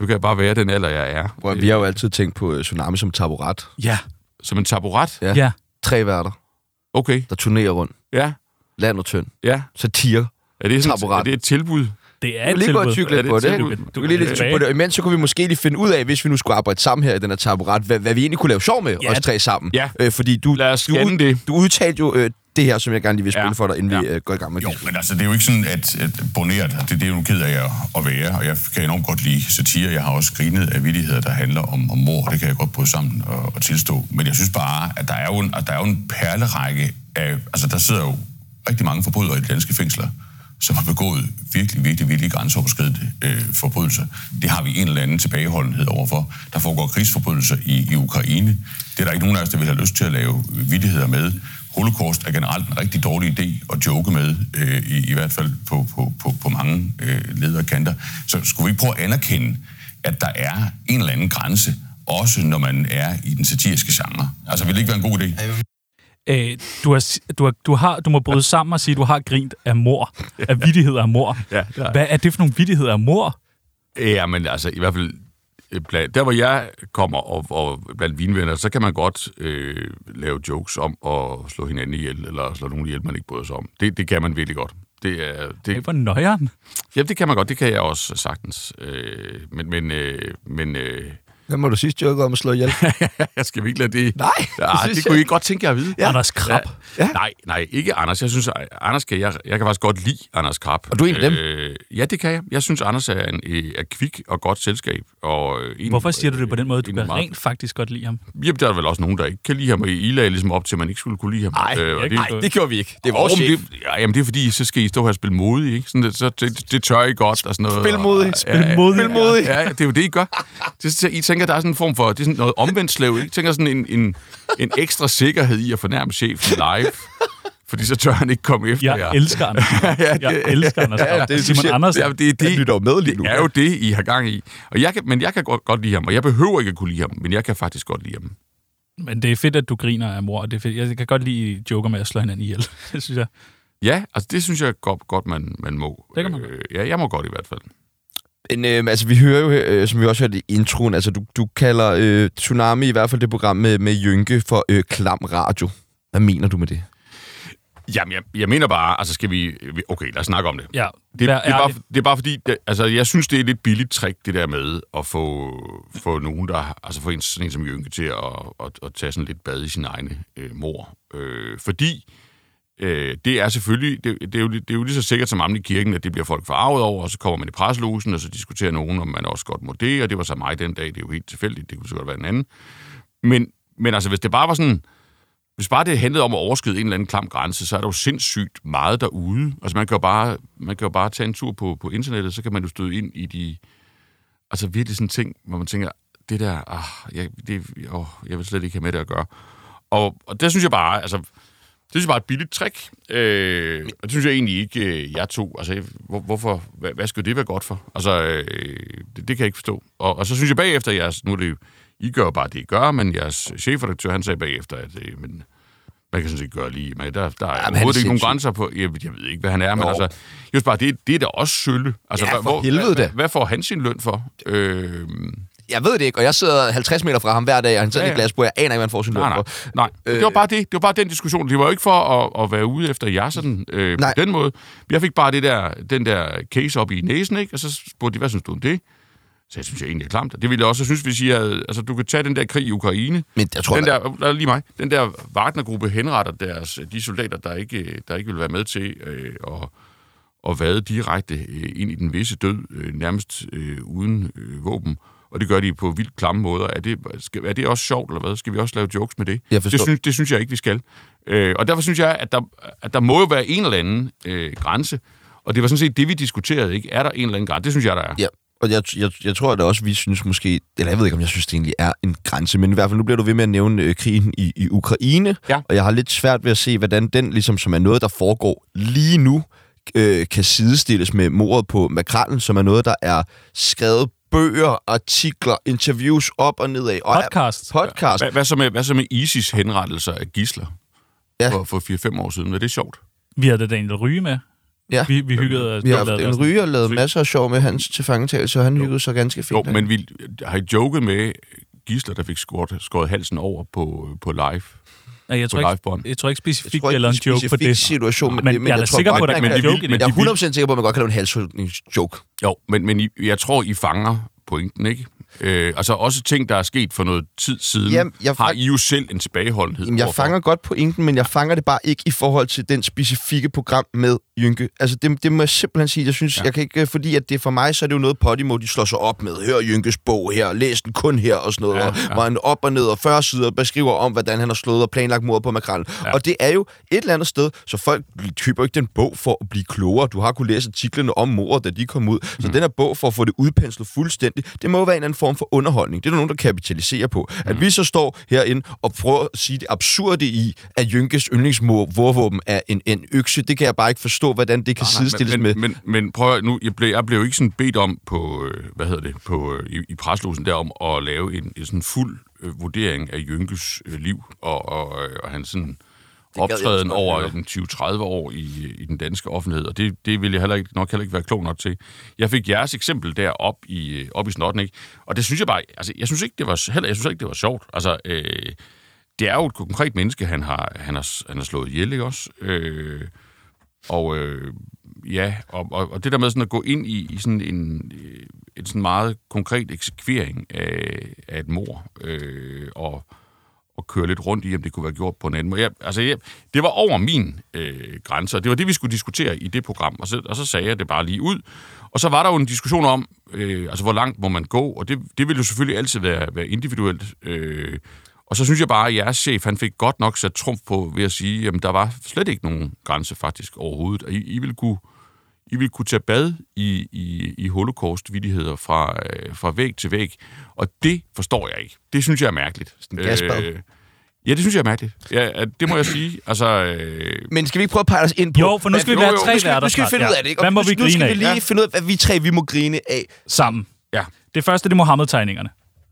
nu kan jeg bare være den alder, jeg er.
Prøv, at- vi har jo altid tænkt på øh, Tsunami som taburet.
Ja. Som en taburet?
Ja.
Ja.
Tre værter,
Okay,
der turnerer rundt.
ja,
Land og tynd.
ja.
Satire.
Er det, sådan,
Taburet.
er det et tilbud?
Det er
Du kan
et
lige gå og
tilbud.
tygge lidt
Ja,
på
det er
det,
et
ikke?
tilbud.
Du kan lige lidt tygge på det. Og Imens så kunne vi måske lige finde ud af, hvis vi nu skulle arbejde sammen her i den her taburet, hvad, hvad vi egentlig kunne lave sjov med, ja.
Ja.
os tre sammen.
Ja.
Øh, fordi du,
Lad os
du,
scanne det.
du udtalte jo øh, det her, som jeg gerne lige vil spille
Ja.
for dig, inden ja. vi
Ja.
øh, går i gang med
Jo,
det.
men altså, det er jo ikke sådan, at, at boneret, det, det er jo nu ked af jeg at være, og jeg kan enormt godt lide satire. Jeg har også grinet af vidtigheder, der handler om, om mor, det kan jeg godt bryde sammen og, og tilstå. Men jeg synes bare, at der er jo en, at der er jo en perlerække af, altså der sidder jo rigtig mange forbrydere i de danske fængsler, som har begået virkelig, virkelig, virkelig grænseoverskridende øh, forbrydelser. Det har vi en eller anden tilbageholdenhed overfor. Der foregår krigsforbrydelser i, i Ukraine. Det er der ikke nogen af os, der vil have lyst til at lave vidtigheder med. Holocaust er generelt en rigtig dårlig idé at joke med, øh, i, i hvert fald på, på, på, på mange øh, ledere kanter. Så skulle vi ikke prøve at anerkende, at der er en eller anden grænse, også når man er i den satiriske genre? Altså, vil det ikke være en god idé?
Øh, du, har, si- du, har, du, har, du må bryde sammen og sige, at du har grint af mor. Af vittigheder af mor.
Ja, det har jeg.
Hvad er det for nogle vittigheder af mor?
Ja, men altså i hvert fald, øh, bla- der hvor jeg kommer og, og blandt vinvenner, så kan man godt øh, lave jokes om at slå hinanden ihjel, eller slå nogen ihjel, man ikke bryder sig om. Det, det kan man virkelig godt. Det er,
Ej,
det,
hvor nøjeren.
ja, det kan man godt, det kan jeg også sagtens. Øh, men men, øh, men øh,
Hvem var du sidst joket om at slå ihjel?
jeg skal virkelig lade det...
Nej,
ja,
det synes
det kunne
jeg-
I godt tænke jer at vide.
Ja. Anders Krab.
Ja. Nej, nej, ikke Anders. Jeg synes, at Anders kan, jeg, jeg kan faktisk godt lide Anders Krab.
Og du er en af dem?
Øh, ja, det kan jeg. Jeg synes, Anders er, en, øh, er kvik og godt selskab. Og øh, en,
Hvorfor siger du det på den måde? Du
en
kan
meget-
rent faktisk godt lide ham.
Jamen, der er vel også nogen, der ikke kan lide ham, og I lagde ligesom op til, at man ikke skulle kunne lide ham. Øh,
Nej,
og
jeg
det,
kan
Nej, det gjorde vi ikke. Det var vores
Åh, men
chef.
det, ja, jamen, det er fordi, så skal I stå her og spille modig, ikke? Sådan, det, så, det, det tør I godt og sådan noget.
Spil modig,
og-
spil modig. Spil modig.
Ja, ja, det er jo det, I gør. Det, så, I tænker, der er sådan en form for... Det er sådan noget omvendt slev, ikke? I tænker sådan en, en, en ekstra sikkerhed i at fornærme chefen live. Fordi så tør han ikke komme efter
Jeg
jer.
elsker Anders Krab. Jeg elsker Anders Krab.
det er
Simon
specielt.
Andersen.
Ja, det er det,
Han lytter jo med lige nu.
Det er jo det, I har gang i. Og jeg kan, men jeg kan godt, godt lide ham, og jeg behøver ikke at kunne lide ham, men jeg kan faktisk godt lide ham.
Men det er fedt, at du griner af mor. og Det er fedt. Jeg kan godt lide joker med at slå hinanden ihjel. Det synes jeg.
Ja, altså det synes jeg godt, godt man, man må.
Det kan man godt.
Øh, ja, jeg må godt i hvert fald.
Men øh, altså, vi hører jo, øh, som vi også hørte i introen, altså du, du kalder øh, Tsunami, i hvert fald det program med, med Jynke, for øh, klam radio. Hvad mener du med det?
Jamen, jeg, jeg mener bare, altså skal vi... vi- Okay, lad os snakke om det.
Ja,
Det, det,
vær
er bare,
ærlig.
det er bare fordi, det, altså, jeg synes, det er et lidt billigt trick, det der med at få, få nogen, der, altså få en, sådan en som Jynke til at, at, at tage sådan lidt bad i sin egne øh, mor. Øh, fordi øh, det er selvfølgelig, det, det, er jo, li- det er jo lige så sikkert som amen i kirken, at det bliver folk forarvet over, og så kommer man i preslogen, og så diskuterer nogen, om man også godt må det, og det var så mig den dag, det er jo helt tilfældigt, det kunne så godt være en anden. Men, men altså, hvis det bare var sådan, hvis bare det handlede om at overskride en eller anden klam grænse, så er der jo sindssygt meget derude. Altså, man kan jo bare, man kan jo bare tage en tur på, på internettet, så kan man jo støde ind i de... Altså, virkelig sådan ting, hvor man tænker, det der, ah, jeg, det, åh, jeg vil slet ikke have med det at gøre. Og, og det synes jeg bare, altså, det synes jeg bare er et billigt trick. Øh, og det synes jeg egentlig ikke, øh, jeg tog. Altså, jeg- hvor, hvorfor, hvad, hvad skulle det være godt for? Altså, øh, det, det kan jeg ikke forstå. Og, og så synes jeg bagefter, jeres, nu er det jo, I gør jo bare det, I gør, men jeres chefredaktør, han sagde bagefter, at øh, men, man kan sådan set gøre lige, men der, der
han er
er ja, overhovedet ikke nogen
sindssyg.
grænser på, jeg, jeg ved ikke, hvad han er, men
Jo.
altså, jeg synes bare, det, det er da også sølle. Altså,
Ja,
hvad-
for
hvor,
helvede
hvad,
da.
hvad, hvad får han sin løn for? Øh,
Jeg ved det ikke, og jeg sidder 50 meter fra ham hver dag, og han sidder ja,
Ja,
ja. i et
ja.
glasbord. Jeg aner ikke, hvad han får sin løn
nej, nej,
for.
nej. Øh, det var bare det. Det var bare den diskussion. Det var jo ikke for at, at være ude efter jer sådan, øh, på
Nej.
den måde. Jeg fik bare det der, den der case op i næsen, ikke? Og så spurgte de, hvad synes du om det? Så jeg synes, jeg egentlig er klamt. Og Det ville jeg også synes, hvis I havde, altså, du kan tage den der krig i Ukraine,
Men jeg tror,
den
den der...
der, der, lige mig, den der Wagner-gruppe henretter deres, øh, de soldater, der ikke, øh, der ikke vil være med til øh, at, at vade direkte øh, ind i den visse død, øh, nærmest øh, uden øh, våben. Og det gør de på vildt klamme måder. Er det, skal, er det også sjovt, eller hvad? Skal vi også lave jokes med det?
Jeg forstår.
det, synes, det synes jeg ikke, vi skal. Øh, og derfor synes jeg, at der, at der må jo være en eller anden øh, grænse. Og det var sådan set det, vi diskuterede, ikke? Er der en eller anden grænse? Det synes jeg, der er.
ja. Og jeg, jeg, jeg tror da også, vi synes måske, eller jeg ved ikke, om jeg synes, det egentlig er en grænse, men i hvert fald nu bliver du ved med at nævne øh, krigen i, i Ukraine,
Ja.
og jeg har lidt svært ved at se, hvordan den, ligesom, som er noget, der foregår lige nu, øh, kan sidestilles med mordet på makrallen, som er noget, der er skrevet bøger, artikler, interviews op og nedad. Og er-
Podcast.
Podcast.
Hvad, hvad, så med, hvad så med ISIS henrettelser af gisler
Ja.
ja. for, for 4-5 år siden? Er det sjovt?
Vi havde da Daniel Ryge med.
Ja.
Vi, vi hyggede os.
Vi har
og
haft
lavede
en
os-
ryger og lavet masser af sjov med hans tilfangetagelse, og han hyggede sig ganske
Jo,
fint.
men vi har I joket med gisler, der fik skåret, skåret halsen over på, på live.
Nej, jeg tror
på
ikke,
livebånd.
jeg tror ikke specifikt,
Jeg tror
jeg
ikke,
lavede
en
en joke på
specifik
det.
situation, men,
Men
det, men
jeg er da
tror
sikker
godt,
på, at der
man
kan være
kan-
joke i det.
Jeg er 100% sikker på, at man godt kan lave en halshugningsjoke.
Jo, men, men I, jeg tror, I fanger pointen, ikke? Øh, altså også ting, der er sket for noget tid siden,
Jamen, jeg
har
fang-
I jo selv en tilbageholdenhed
Jamen, jeg
overfor.
fanger godt pointen, men jeg fanger det bare ikke i forhold til den specifikke program med Jynke. Altså, det, det må jeg simpelthen sige. Jeg synes, ja. jeg kan ikke, øh, fordi at det for mig, så er det jo noget Podimo, de slår sig op med. Hør Jynkes bog her, læs den kun her og sådan noget. Ja, ja. Og, hvor han op og ned og 40 sider beskriver om, hvordan han har slået og planlagt mord på makrallen. Ja. Og det er jo et eller andet sted, så folk køber ikke den bog for at blive klogere. Du har kunnet læse artiklerne om mordet, da de kom ud.
Mhm.
Så mm. den her bog for at få det udpenslet fuldstændig, det må jo være en eller anden form for underholdning. Det er der nogen, der kapitaliserer på.
Mhm.
At vi så står herinde og prøver at sige det absurde i, at Jynkes yndlingsmorvåben er en, en økse, det kan jeg bare ikke forstå, hvordan det kan sidestilles
men,
med.
Men, men prøv at, høre, nu, jeg blev, jeg blev jo ikke sådan bedt om på, øh, hvad hedder det, på, øh, i, i preslosen der om at lave en, en sådan fuld øh, vurdering af Jynkes øh, liv og, og, øh, og hans sådan optræden
også godt
over
høre.
den 20-30 år i, i den danske offentlighed, og det, det ville jeg heller ikke, nok heller ikke være klog nok til. Jeg fik jeres eksempel der op i, øh, op i snotten, ikke? og det synes jeg bare, altså jeg synes ikke, det var, heller, jeg synes ikke, det var sjovt. Altså, øh, det er jo et konkret menneske, han har, han har, han har slået ihjel, ikke også? Øh, og øh, ja, og, og, og det der med sådan at gå ind i, i sådan en, øh, en sådan meget konkret eksekvering af, af et mor, øh, og, og køre lidt rundt i, om det kunne være gjort på en anden måde. Jeg, altså, jeg, det var over min øh, grænse, og det var det, vi skulle diskutere i det program, og så, og så sagde jeg det bare lige ud. Og så var der jo en diskussion om, øh, altså, hvor langt må man gå, og det, det ville jo selvfølgelig altid være, være individuelt. Øh, og så synes jeg bare, at jeres chef han fik godt nok sat trumf på ved at sige, at der var slet ikke nogen grænse faktisk overhovedet, og I, I ville kunne i vil kunne tage bad i, i, i holocaust-vidigheder fra, øh, fra væg til væg. Og det forstår jeg ikke. Det synes jeg er mærkeligt. Øh,
gasbad.
ja, det synes jeg er mærkeligt. Ja, at det må jeg sige. Altså, øh,
Men skal vi ikke prøve at pege os ind på...
Jo, for nu skal
Jo,
vi
jo,
være tre
nu skal-
nu skal,
værter
nu skal vi
snart.
finde ud
Ja.
af det, ikke?
Hvad må vi
nu skal
grine
vi
af
lige
lige...
finde ud af, hvad vi tre vi må grine af.
sammen?
ja,
Det første, det er Mohammed-tegningerne.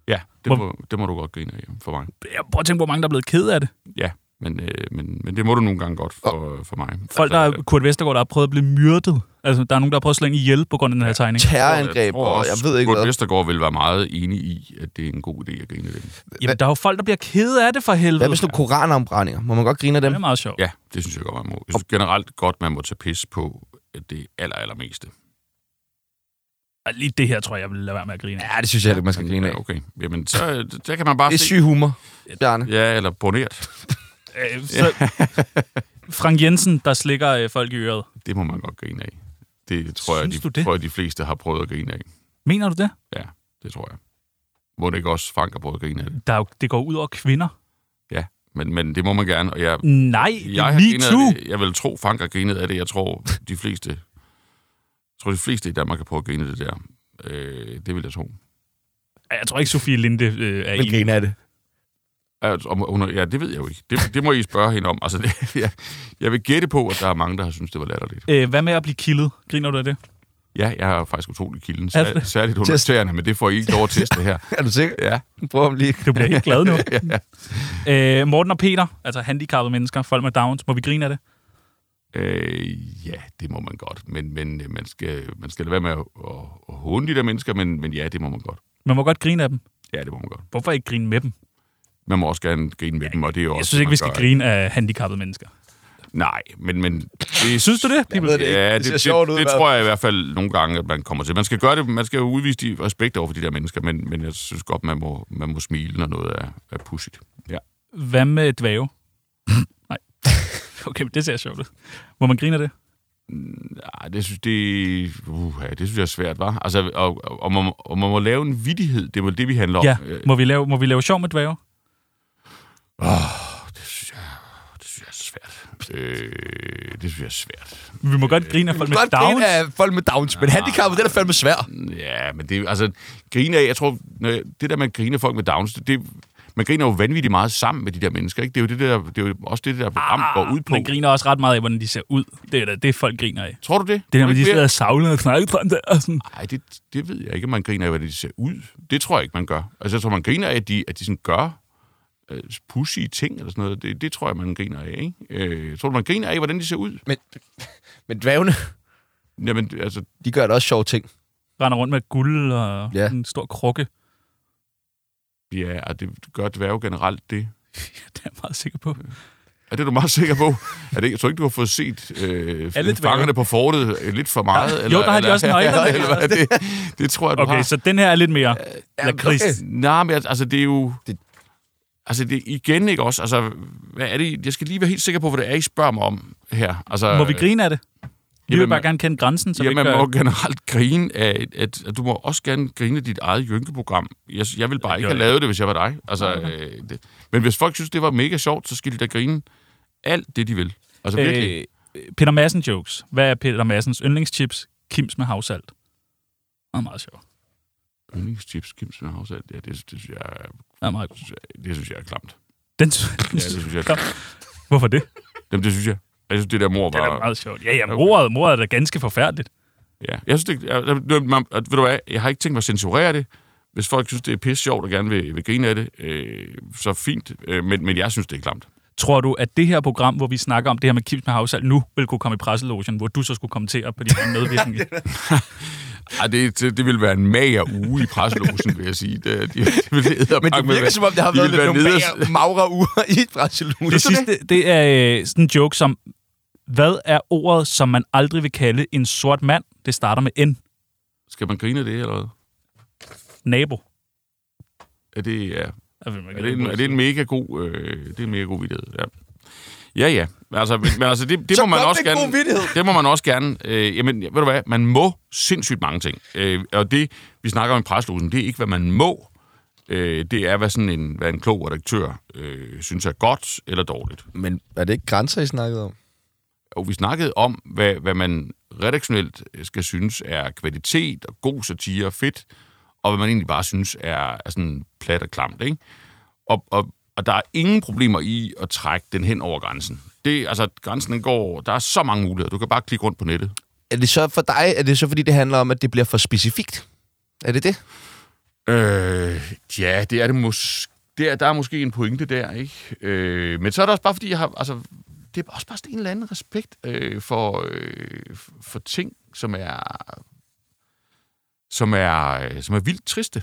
ja det,
Hvor-
må, det må du godt grine af for mig.
Jeg prøver at tænke, hvor mange, der er blevet ked af det.
Ja, men, øh, men, men det må du nogle gange godt for, for mig. Altså,
Folk, der er, Kurt Vestergaard, der har prøvet at blive myrdet. Altså, der er nogen, der har prøvet at slå en ihjel på grund af den her tegning.
Terrorangreb, og jeg ved ikke
Kurt
hvad.
Vestergaard vil være meget enig i, at det er en god idé at grine af det.
Jamen, der er jo folk, der bliver ked af det for helvede.
Hvad med sådan nogle koranombrændinger? Må man godt grine af dem?
det er meget sjovt.
Ja, det synes jeg godt, man må. Jeg synes generelt godt, man må tage pis på det aller, allermeste.
Og Lige det her, tror jeg, jeg vil lade være med at grine af.
Ja, det synes jeg heller ikke, man skal grine af.
Ja, okay. Jamen, så, der kan man bare
Det er
se.
syg humor, Bjarne.
Ja, eller bonert.
Øh, så... Frank Jensen, der slikker øh, folk i øret.
Det må man godt grine af. Det tror jeg, de,
Synes du det?
tror jeg, de fleste har prøvet at grine af.
Mener du det?
Ja, det tror jeg. Må det ikke også Frank har prøvet at grine af det?
Der er jo, det går ud over kvinder.
Ja, men, men det må man gerne. Og jeg,
Nej, det
jeg
er
har grinet
me too.
af det. Jeg vil tro, Frank har grinet af det. Jeg tror, de fleste, jeg tror, de fleste i Danmark har prøvet at grine af det der. Øh, det vil jeg tro.
Jeg tror ikke, Sofie Linde øh, er
Vil
enig.
grine af det.
Altså, om hun, er- ja, det ved jeg jo ikke. Det, det må I spørge hende om. Altså, det, jeg, jeg vil gætte på, at der er mange, der har syntes, det var latterligt.
Øh, hvad med at blive kildet? Griner du af det?
Ja, jeg er faktisk utrolig kilden.
Er det
Sær,
det?
særligt under tæerne, men det får I ikke lov at teste her.
Er du sikker?
Ja.
Prøv om lige.
Du bliver helt glad nu. øh, Morten og Peter, altså handicappede mennesker, folk med Downs, må vi grine af det?
Øh, ja, det må man godt. Men, men øh, man, skal, man skal lade være med at, at, at håne de der mennesker, men, men ja, det må man godt.
Man må godt grine af dem.
Ja, det må man godt.
Hvorfor ikke grine med dem?
Man må også gerne grine med dem, og det er jo også...
Jeg synes
det,
ikke,
man
vi skal
gør.
grine af handicappede mennesker.
Nej, men... men det,
Synes du det?
Jeg ved det ikke.
Ja,
Det
det,
ser
det,
sjovt ud
det,
i hvert
tror jeg i hvert fald nogle gange, at man kommer til. Man skal gøre det, man skal jo udvise de respekt over for de der mennesker, men, men jeg synes godt, man må, man må smile, når noget er, er pudsigt. Ja.
Hvad med dvæve? Nej. Okay, men det ser sjovt ud. Må man grine af det?
Ej, det synes, det, uh, det synes jeg er svært, var. Altså, og, og, og, man, må- og man må lave en vidighed, det er vel det, vi handler om.
Ja.
Øh,
Må vi lave, må vi lave sjov med dvæve?
Det synes jeg er svært. Øh, det synes jeg er svært.
Vi må godt grine af folk med
Godt
Downs.
grine af folk med Downs, Ah. men handicappet, den er fandme svær.
Ja, men det altså, grine af, jeg tror, når jeg- det der med at grine af folk med Downs, det, det, man griner jo vanvittigt meget sammen med de der mennesker, ikke? Det er jo, det der, det er jo også det, det der program
Ah,
går ud på.
Man griner også ret meget af, hvordan de ser ud. Det er da det, folk griner af.
Tror du det?
Det der
Tror
med,
du
de
ikke
sidder og savler og snakker frem der. Og sådan.
Nej, det, det ved jeg ikke, om man griner af, hvordan de ser ud. Det tror jeg ikke, man gør. Altså, jeg tror, man griner af, at de, at de sådan gør øh, pussy ting eller sådan noget. Det, det tror jeg, man griner af, ikke? Øh, jeg tror du, man griner af, hvordan de ser ud?
Men, men dvævne,
Jamen, altså,
de gør da også sjove ting.
Render rundt med guld og
Ja.
ja. en stor krukke.
ja, og det gør dværge generelt det.
Det er jeg meget sikker på.
Er det er du meget sikker på? Er det, jeg tror ikke, du har fået set øh,
dværge.
fangerne på fortet øh, lidt for meget.
Jo, der har de også nøglerne.
eller, eller, eller, det, det tror jeg, du
Okay,
har.
så den her er lidt mere lakrids.
okay.
Nej, men altså, det er jo...
Det-
Det... Altså, det er igen ikke også? Altså, hvad er det? Jeg skal lige være helt sikker på, hvad det er, I spørger mig om her. Altså,
Må vi grine af det? Vi vil
jamen,
bare gerne kende grænsen, så
Ja,
vi ikke
man
gør...
må generelt grine af, at, at du må også gerne grine af dit eget jynkeprogram. Jeg, jeg vil bare ikke
gjorde
have lavet det, hvis jeg var dig. Altså, øh, det. Men hvis folk synes, det var mega sjovt, så skal de da grine alt det, de vil. Altså, virkelig.
Øh, Peter Madsen jokes. Hvad er Peter Madsens yndlingschips? Kims med havsalt. Det er meget sjovt.
Yndlingschips, Kims med havsalt. Ja, det, det, synes jeg, er-
Det er meget god.
det synes jeg er klamt.
Den,
Ja, det synes jeg.
Kom. Hvorfor det?
Jamen, det synes jeg. Jeg synes, det der mor
Det
var...
er da meget sjovt. Ja, ja, mordet, mordet er da ganske forfærdeligt.
Ja. Jeg synes, det, jeg, jeg, man, at- ved du hvad, jeg har ikke tænkt mig at censurere det. Hvis folk synes, det er pisse sjovt og gerne vil, vil grine af det, øh, så fint. Øh, men, men jeg synes, det er klamt.
Tror du, at det her program, hvor vi snakker om det her med Kims med havsalt, nu vil kunne komme i presselogen, hvor du så skulle kommentere på din medvirkning?
Ej, det, det, det ville være en mager uge i presselogen, vil jeg sige. Det, det, det ville
Men det virker som om, det har været lidt nogle bager, magre uger i et brasselus.
det sidste, det er øh, sådan en joke som, hvad er ordet, som man aldrig vil kalde en sort mand? Det starter med N.
Skal man grine af det, eller hvad?
nabo.
Er det, ja.
Er det,
er det, en, er det en mega god, øh, det er en mega god vidighed, ja. Ja, ja. Altså, men, men altså, det, det
Så
må man
kom
også
den gode
gerne...
vittighed.
Det må man også gerne... Øh, jamen, ved du hvad? Man må sindssygt mange ting. Øh, og det, vi snakker om i preslosen, det er ikke, hvad man må. Øh, det er, hvad, sådan en, hvad en klog redaktør øh, synes er godt eller dårligt.
Men er det ikke grænser, I snakkede om?
Og vi snakkede om, hvad, hvad man redaktionelt øh, skal synes er kvalitet og god satire og fedt, og hvad man egentlig bare synes er, er sådan plat og klamt, ikke? Og, og, og der er ingen problemer i at trække den hen over grænsen. Det, altså, grænsen den går... Der er så mange muligheder. Du kan bare klikke rundt på nettet.
Er det så for dig, er det så fordi, det handler om, at det bliver for specifikt? Er det det?
Øh, ja, det er det måske... Der, der er måske en pointe der, ikke? Øh, men så er det også bare, fordi jeg har... Altså, det er også bare sådan en eller anden respekt øh, for, øh, for ting, som er, som er, øh, som er vildt triste.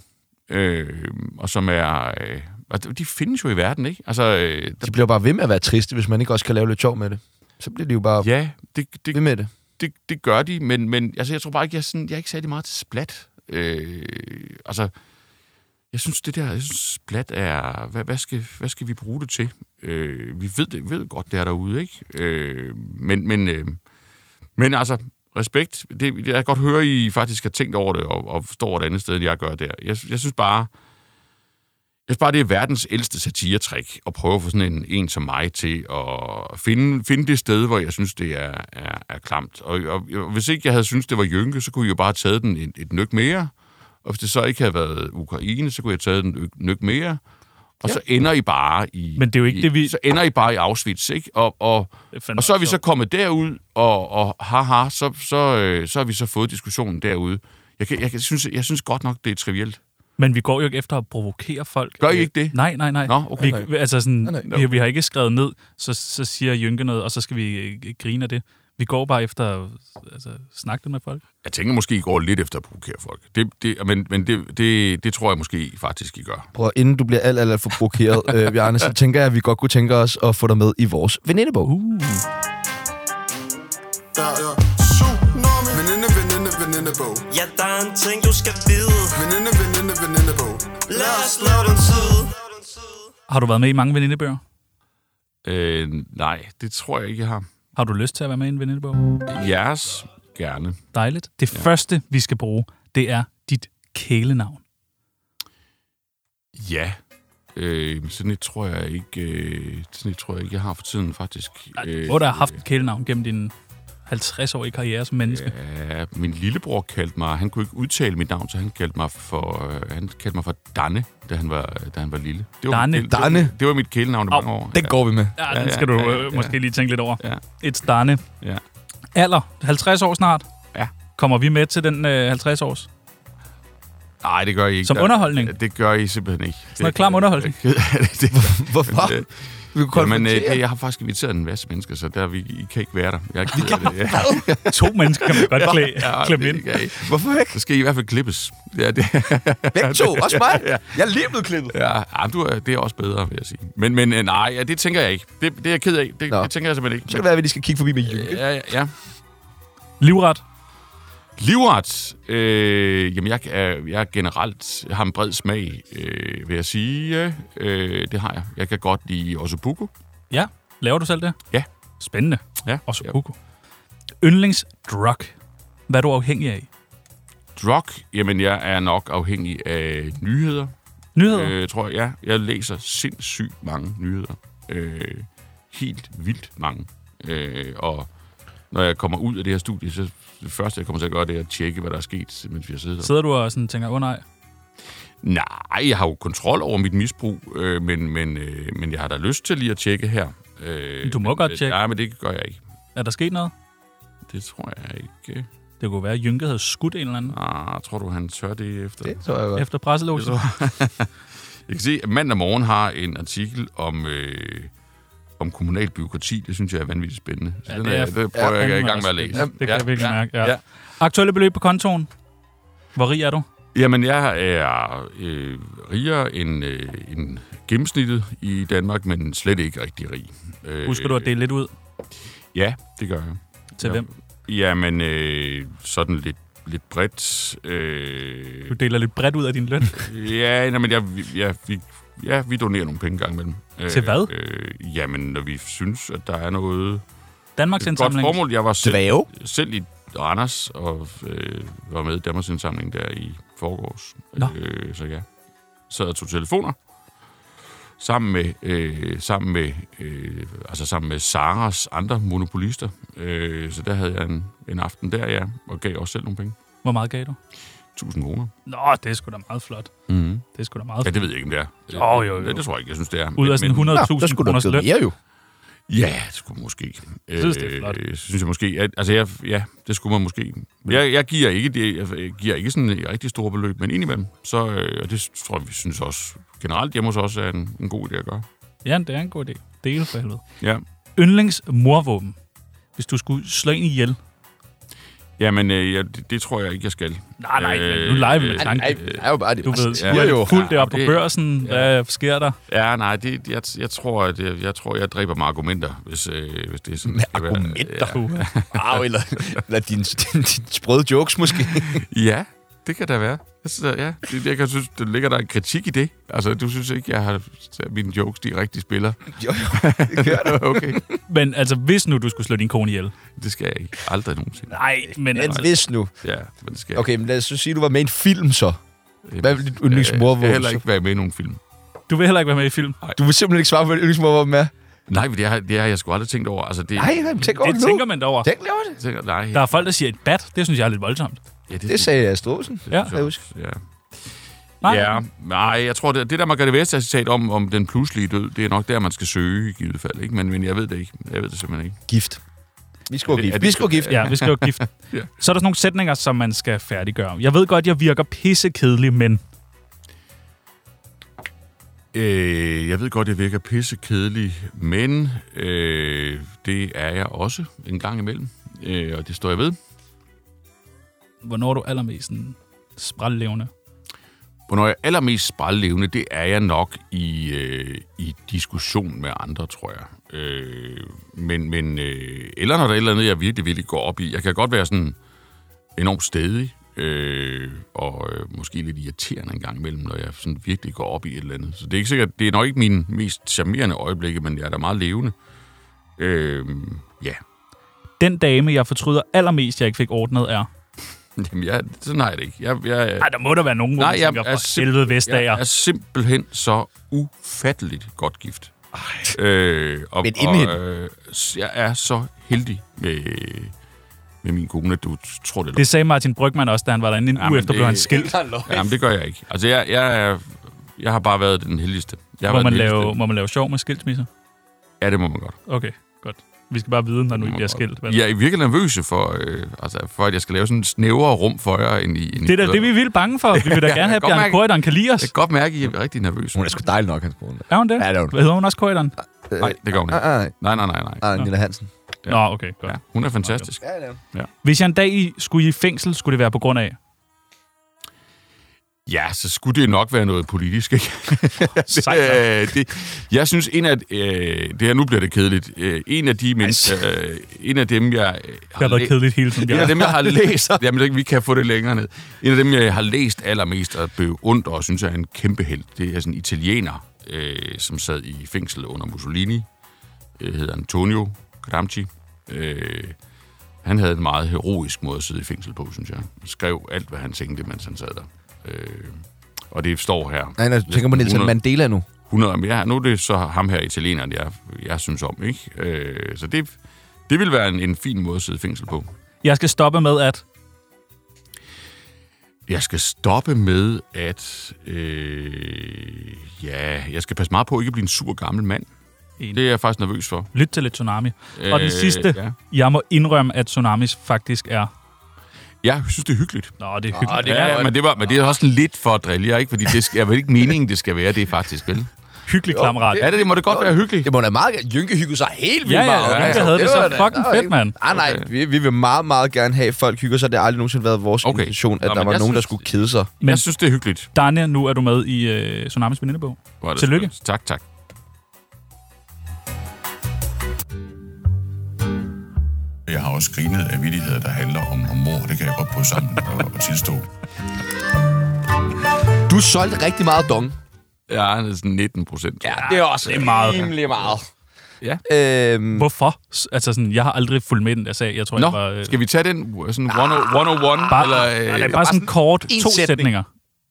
Øh, og som er... Øh, og de- de findes jo i verden, ikke? Altså, øh, der,
De bliver bare ved med at være triste, hvis man ikke også kan lave lidt sjov med det. Så bliver de jo bare ja.
ja, det, det,
ved med det.
det, det gør de, men, men altså, jeg tror bare ikke, jeg, er sådan, jeg er ikke særlig meget til splat. Øh, altså, jeg synes, det der jeg synes, splat er... Hvad, hvad, skal, hvad skal vi bruge det til? Øh, vi ved, det, ved godt, det er derude, ikke? Øh, men, men, øh, men altså, respekt. Det, det- jeg kan godt høre, I faktisk har tænkt over det, og, og forstår et andet sted, end jeg gør der. Jeg, jeg synes bare... Jeg synes bare, det er verdens ældste satiretrik at prøve at få sådan en, en som mig til at finde, finde det sted, hvor jeg synes, det er, er, er klamt. Og, og, og hvis ikke jeg havde syntes, det var Jynke, så kunne jeg jo bare have taget den et, et nyk mere. Og hvis det så ikke havde været Ukraine, så kunne jeg have taget den et nyk mere. Og ja. så ender I bare i...
Men det er jo ikke
i,
det, vi-
Så ender I bare i Auschwitz, ikke? Og, og,
Det er fandme
og så er vi
også
så
sjovt.
kommet derud, og, og haha, så, så, øh, så har vi så fået diskussionen derude. Jeg, kan, jeg, kan, synes, jeg synes godt nok, det er trivielt.
Men vi går jo ikke efter at provokere folk.
Gør I ikke det?
Nej, nej, nej.
Nå, okay.
Vi, altså sådan,
Nej, nej.
vi, vi har ikke skrevet ned, så, så siger Jynke noget, og så skal vi øh, grine af det. Vi går bare efter at altså, snakke det med folk.
Jeg tænker måske, I går lidt efter at provokere folk. Det, det, men men det, det, det tror jeg måske I faktisk, I gør.
Prøv, inden du bliver alt, alt, alt for provokeret, øh, Bjarne, så tænker jeg, at vi godt kunne tænke os at få dig med i vores venindebog. Uh.
Der er tsunami Veninde, veninde, venindebog
Ja, der er en ting, du skal vide.
Veninde, veninde, venindebog
Lad os slå den tid.
Har du været med i mange venindebøger?
Øh, nej, det tror jeg ikke, jeg har.
Har du lyst til at være med i en venindebog?
Jeres gerne.
Dejligt. Det ja. første, vi skal bruge, det er dit
Øh,
kælenavn.
Ja. Øh, sådan et tror jeg ikke, øh, sådan et tror jeg ikke, jeg har for tiden faktisk.
Øh, Hvor der har haft et kælenavn gennem din 50-årige karriere som menneske. Ja.
Ja, min lillebror kaldte mig, han kunne ikke udtale mit navn, så han kaldte mig for, øh, han kaldte mig for Danne, da han var, da han var lille. Det var
Danne?
Mit, det,
Danne?
Det, var, det var mit kælenavn i mange år.
Den går vi med.
Ja, den skal du
ja,
ja,
ja, ja.
måske lige tænke lidt over.
Ja.
Et starne.
Ja.
Alder, 50 år snart.
Ja.
Kommer vi med til den øh, 50 års?
Nej, det gør I ikke.
Som
Der-
underholdning?
Det gør I simpelthen ikke. Sådan
noget klam underholdning?
Det, det, det,
Hvorfor?
Øh,
Vi kunne
Jamen, øh,
konfrontere.
det- jeg har faktisk inviteret en masse mennesker, så der, vi, I kan ikke være der. Jeg er ked af det. Ja,
To mennesker kan man godt klæde,
ja,
klemme
det
ind.
kan I ikke.
Hvorfor ikke?
Så skal I i hvert fald klippes. Ja, det,
Begge to, også mig. Jeg er lige blevet klippet.
ja, ja men du, er- det er også bedre, vil jeg sige. Men, men øh, nej, ja, det tænker jeg ikke. Det, det er jeg ked af. Det,
Nå.
det tænker jeg simpelthen ikke.
Så kan det være, at vi lige skal kigge forbi med Jynke.
Ja, ja, ja.
Livret.
Livret. Øh, jamen, jeg er, jeg er generelt jeg har en bred smag, øh, vil jeg sige. Øh, det har jeg. Jeg kan godt lide ossobuco.
Ja. Laver du selv det?
Ja.
Spændende.
Ja.
Og så Hugo. Yndlingsdrug. Hvad er du afhængig af?
Drug. Jamen, jeg er nok afhængig af nyheder.
Nyheder? Øh.
Øh, tror jeg, ja. Jeg læser sindssygt mange nyheder. Øh, helt vildt mange. Øh, og når jeg kommer ud af det her studie, så det første, jeg kommer til at gøre, det er at tjekke, hvad der er sket, mens vi har siddet her.
Sidder du og sådan tænker, åh oh, nej,
Nej, jeg har jo kontrol over mit misbrug, øh, men, men, øh, men jeg har da lyst til lige at tjekke her. Øh,
Du må
men,
godt
øh,
tjekke.
Nej, men det gør jeg ikke.
er der sket noget?
Det tror jeg ikke.
Det kunne være, at Jynke havde skudt en eller anden
Ah, tror du, han tør det efter?
Det tror jeg godt.
efter presselåsen.
Jeg kan se, at mandag morgen har en artikel om, øh, om kommunal byråkrati. Det synes jeg er vanvittigt spændende.
Ja,
Så ja, den
det
er,
er-
det prøver
ja,
jeg ikke i
den
gang
er
med at
spændende.
læse.
Ja, det kan jeg virkelig mærke, ja.
ja.
Aktuelle beløb på kontoen. Hvor rig er du?
Jamen, jeg er øh, rigere end, øh, end gennemsnittet i Danmark, men slet ikke rigtig rig. Øh,
Husker du at dele lidt ud
Ja, det gør jeg.
til
ja.
hvem?
Jamen, øh, sådan lidt lidt bredt. Øh,
Du deler lidt bredt ud af din løn.
ja, nej, men jeg, ja, vi, ja, vi donerer nogle penge gang imellem. Øh,
Til hvad?
Øh, jamen, når vi synes, at der er noget...
Danmarks
Et godt
indsamling.
formål. Jeg var selv,
Dvæve?
selv i Randers og øh, var med i Danmarks indsamling der i forgårs.
Nå.
Øh, så ja. Så jeg tog telefoner sammen med, øh, sammen med, øh, altså sammen med Saras andre monopolister. Øh, så der havde jeg en, en aften der, ja, og gav også selv nogle penge.
Hvor meget gav du?
1000 kroner.
Nå, det er sgu da meget flot.
Mm-hmm.
Det er sgu da meget
Ja,
flot.
det ved jeg ikke, om det er.
Mhm. Jo, jo, jo.
Det, det tror jeg ikke, jeg synes, det er.
Ud af sådan
Men-
100.000 kroners løn.
mere jo.
Ja, det skulle man måske. Jeg
synes, det er flot.
Øh, synes jeg måske. At, altså, jeg, ja, det skulle man måske. Jeg, jeg giver ikke, det, jeg giver ikke sådan et rigtig store beløb, men indimellem, så, øh, og det tror jeg, vi synes også generelt hjemme hos os er en, en god idé at gøre.
Ja, det er en god idé. Dele for helvede.
Ja.
Yndlings morvåben. Hvis du skulle slå en ihjel.
Jamen, øh, ja, det, det, tror jeg ikke, jeg skal. Øh,
Nej, nej, nu leger vi med tanken.
Nej, det er jo bare det.
Du ved,
Altså, ja,
ja,
jo.
jo, fuldt det op
Ja,
på
det-
børsen. Hvad sker der?
Ja, nej, det, jeg, jeg, tror, at jeg, jeg tror, jeg dræber med argumenter, hvis, øh, hvis det er sådan.
Med
det skal være.
argumenter?
Puha.
Wow, eller, eller din, din, din sprøde jokes måske.
Ja, det kan da være. Jeg synes, ja, det, jeg kan synes, der ligger der en kritik i det. Altså, du synes ikke, jeg har at mine jokes, de rigtig spiller.
jo, jo, det gør du.
Okay.
Men altså, hvis nu du skulle slå din kone ihjel.
Det skal jeg ikke. Aldrig nogensinde.
Nej, men
Men
altså,
hvis nu.
Ja, men det skal
Okay, men lad os så sige, at du var med i en film så.
jeg.
Hvad er dit yndlingsmorvåben,
Jeg vil heller
så?
ikke være med i nogen film.
du vil heller ikke være med i film.
Du vil simpelthen ikke svare på, ligesom, hvad yndlingsmorvåben er.
Nej, men det har, det har jeg sgu aldrig tænkt over. Altså, det,
Nej, nej, men tænk over
Det
det, nu.
tænker man da over.
Tænk over det.
Jeg tænker, nej.
Der er folk, der siger et bat. Det synes jeg er lidt voldsomt.
ja, det,
Det sagde Astrid Olsen.
Ja.
synes
jeg husker.
Ja.
Nej,
ja, nej, jeg tror, det, det der Margrethe Vestager citat om, om den pludselige død, det er nok der, man skal søge i givet fald. Ikke? Men, men jeg ved det ikke. Jeg ved det simpelthen ikke.
Gift. Vi skulle
Er
være
det- er
gift.
det-
Vi skulle være gift.
Ja, vi skal jo gift. Så
Ja.
er der sådan nogle sætninger, som man skal færdiggøre. Jeg ved godt, jeg virker pissekedelig, men...
Øh, jeg ved godt, jeg virker pisse kedelig, men øh, det er jeg også en gang imellem. Øh, og det står jeg ved.
Hvornår er du allermest sådan sprællevende?
Hvornår jeg er allermest sprællevende, det er jeg nok i, øh, i diskussion med andre, tror jeg. Øh, men men øh, eller når der er et eller andet, jeg virkelig, virkelig går op i. Jeg kan godt være sådan enormt stedig, øh, og øh, måske lidt irriterende en gang imellem, når jeg sådan virkelig går op i et eller andet. Så det er ikke sikkert, det er nok ikke mine mest charmerende øjeblikke, men jeg er da meget levende. Øh, ja,
Den dame, jeg fortryder allermest, jeg ikke fik ordnet, er...
Jamen, jeg, sådan har jeg det ikke. Jeg, jeg,
Nej, der må der være nogen, hvor
Nej,
Nej,
jeg
tænker,
er
for
simp-
helvede Vestager.
Jeg er simpelthen så ufatteligt godt gift. Øh, og,
Men inden
og, øh, s- jeg er så heldig med, med min kone, at du t- tror det.
Det sagde Martin Brygman også, da han var derinde en
Jamen,
uge efter,
det-
blev han skilt.
er Jamen, det gør jeg ikke. Altså, jeg, jeg, er, jeg har bare været den heldigste. Jeg har
Må
været
man,
den
lave,
heldigste.
må man lave sjov med skilsmisser?
Ja, det må man godt.
Okay, godt. Vi skal bare vide, når nu I bliver
Må man godt.
skilt. vel?
Jeg er virkelig nervøs for, øh, altså, for, at jeg skal lave sådan en snævere rum for jer. End i, end
Det er
i,
da det, vi er vildt bange for. Vi vil da gerne
jeg
have,
kan
at
godt
Bjarne
mærke-
Corydon kan lide os.
Jeg kan godt mærke, at I er rigtig nervøse.
Hun er sgu dejlig nok, hans kone.
Er hun det?
Ja, det er hun.
Hedder hun også Corydon?
Øh,
Nej, det gør hun ikke.
Nej, nej,
Nej, nej, nej, nej.
nej, ah, Nina Hansen.
Ja.
Nå, okay, godt.
Ja, hun er fantastisk.
Ja, det er hun.
Hvis jeg en dag i- skulle i fængsel, skulle det være på grund af...
Ja, så skulle det nok være noget politisk, ikke?
Sejt nok.
Øh, det, jeg synes, en af... Øh, det her, nu bliver det kedeligt. Øh, en af de mennesker... Øh, en af dem, jeg... Øh,
Det har været kedeligt hele tiden.
En af
Bjarne.
dem, jeg har læst... Jamen, det- vi kan få det længere ned. En af dem, jeg har læst allermest og beundrer og synes er en kæmpe held, det er sådan en italiener, øh, som sad i fængsel under Mussolini. Øh, hedder Antonio Gramsci. Øh, han havde en meget heroisk måde at sidde i fængsel på, synes jeg. Han skrev alt, hvad han tænkte, mens han sad der. Øh, og det står her.
Nej, nej, du tænker på Nelson
100
Mandela nu.
100 om ja, Nu er det så ham her italieneren, jeg, jeg synes om, ikke? Øh, så det, det vil være en, en fin måde at sidde i fængsel på.
Jeg skal stoppe med at...
Jeg skal stoppe med, at... Øh, ja, jeg skal passe meget på ikke at blive en sur gammel mand.
Enig.
Det er jeg faktisk nervøs for.
Lyt til lidt tsunami. Og den
Øh,
sidste,
ja.
jeg må indrømme, at tsunamis faktisk er...
Jeg synes, det er hyggeligt.
Nå, det er hyggeligt.
Det ja, men det, var, men det er også sådan lidt for at drille jer, ikke? Fordi det skal, jeg ved ikke meningen, det skal være det faktisk, vel?
Hyggelig klamrat.
Ja, det, det må det godt være hyggeligt.
Det må da meget gerne. Jynke hyggede sig helt vildt
Ja, ja,
meget.
Jynke havde det så
var da-
fucking
der var
fedt,
ikke-
mand.
Ah, Nej, nej, vi, vi vil meget, meget gerne have, at folk hygger sig. Det har aldrig nogensinde været vores
Okay.
okay. intention, at
Nå,
der
men
var
jeg
nogen, der
synes-
skulle kede sig.
Men... Jeg synes, det er hyggeligt.
Danja, nu er du med i øh, Tsunamis venindebog.
Hvor er det
Tillykke.
skønt. Tak, tak.
Jeg har også grinet af vidigheder, der handler om, om mor. Det kan jeg godt på sammen og, og tilstå.
Du solgte rigtig meget dong.
Ja, det er sådan 19 procent. Ja.
det er også det er
meget.
rimelig meget.
Ja.
Øhm,
Hvorfor? S- Altså sådan, jeg har aldrig fulgt med i den der sag. Jeg tror, jeg var...
Nå,
Øh,
skal vi tage den øh, sådan 101?
Ah. bare, Ah,
eller, øh,
nej, nej, bare sådan kort
en
to
sætning.
sætninger.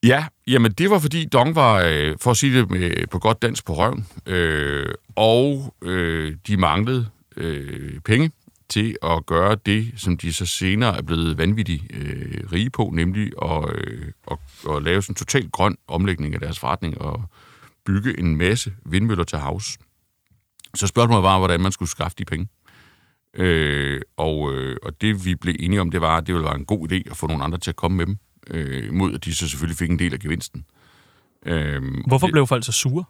Ja, jamen det var fordi Dong var, øh, for at sige det med, på godt dansk på røven, øh, og øh, de manglede øh, penge til at gøre det, som de så senere er blevet vanvittigt øh, rige på, nemlig at, øh, at, at lave sådan en totalt grøn omlægning af deres forretning og bygge en masse vindmøller til havs. Så spørgsmålet var, hvordan man skulle skaffe de penge. Øh, og, øh, og det vi blev enige om, det var, at det ville være en god idé at få nogle andre til at komme med dem, øh, mod at de så selvfølgelig fik en del af gevinsten. Øh,
Hvorfor blev folk så sure?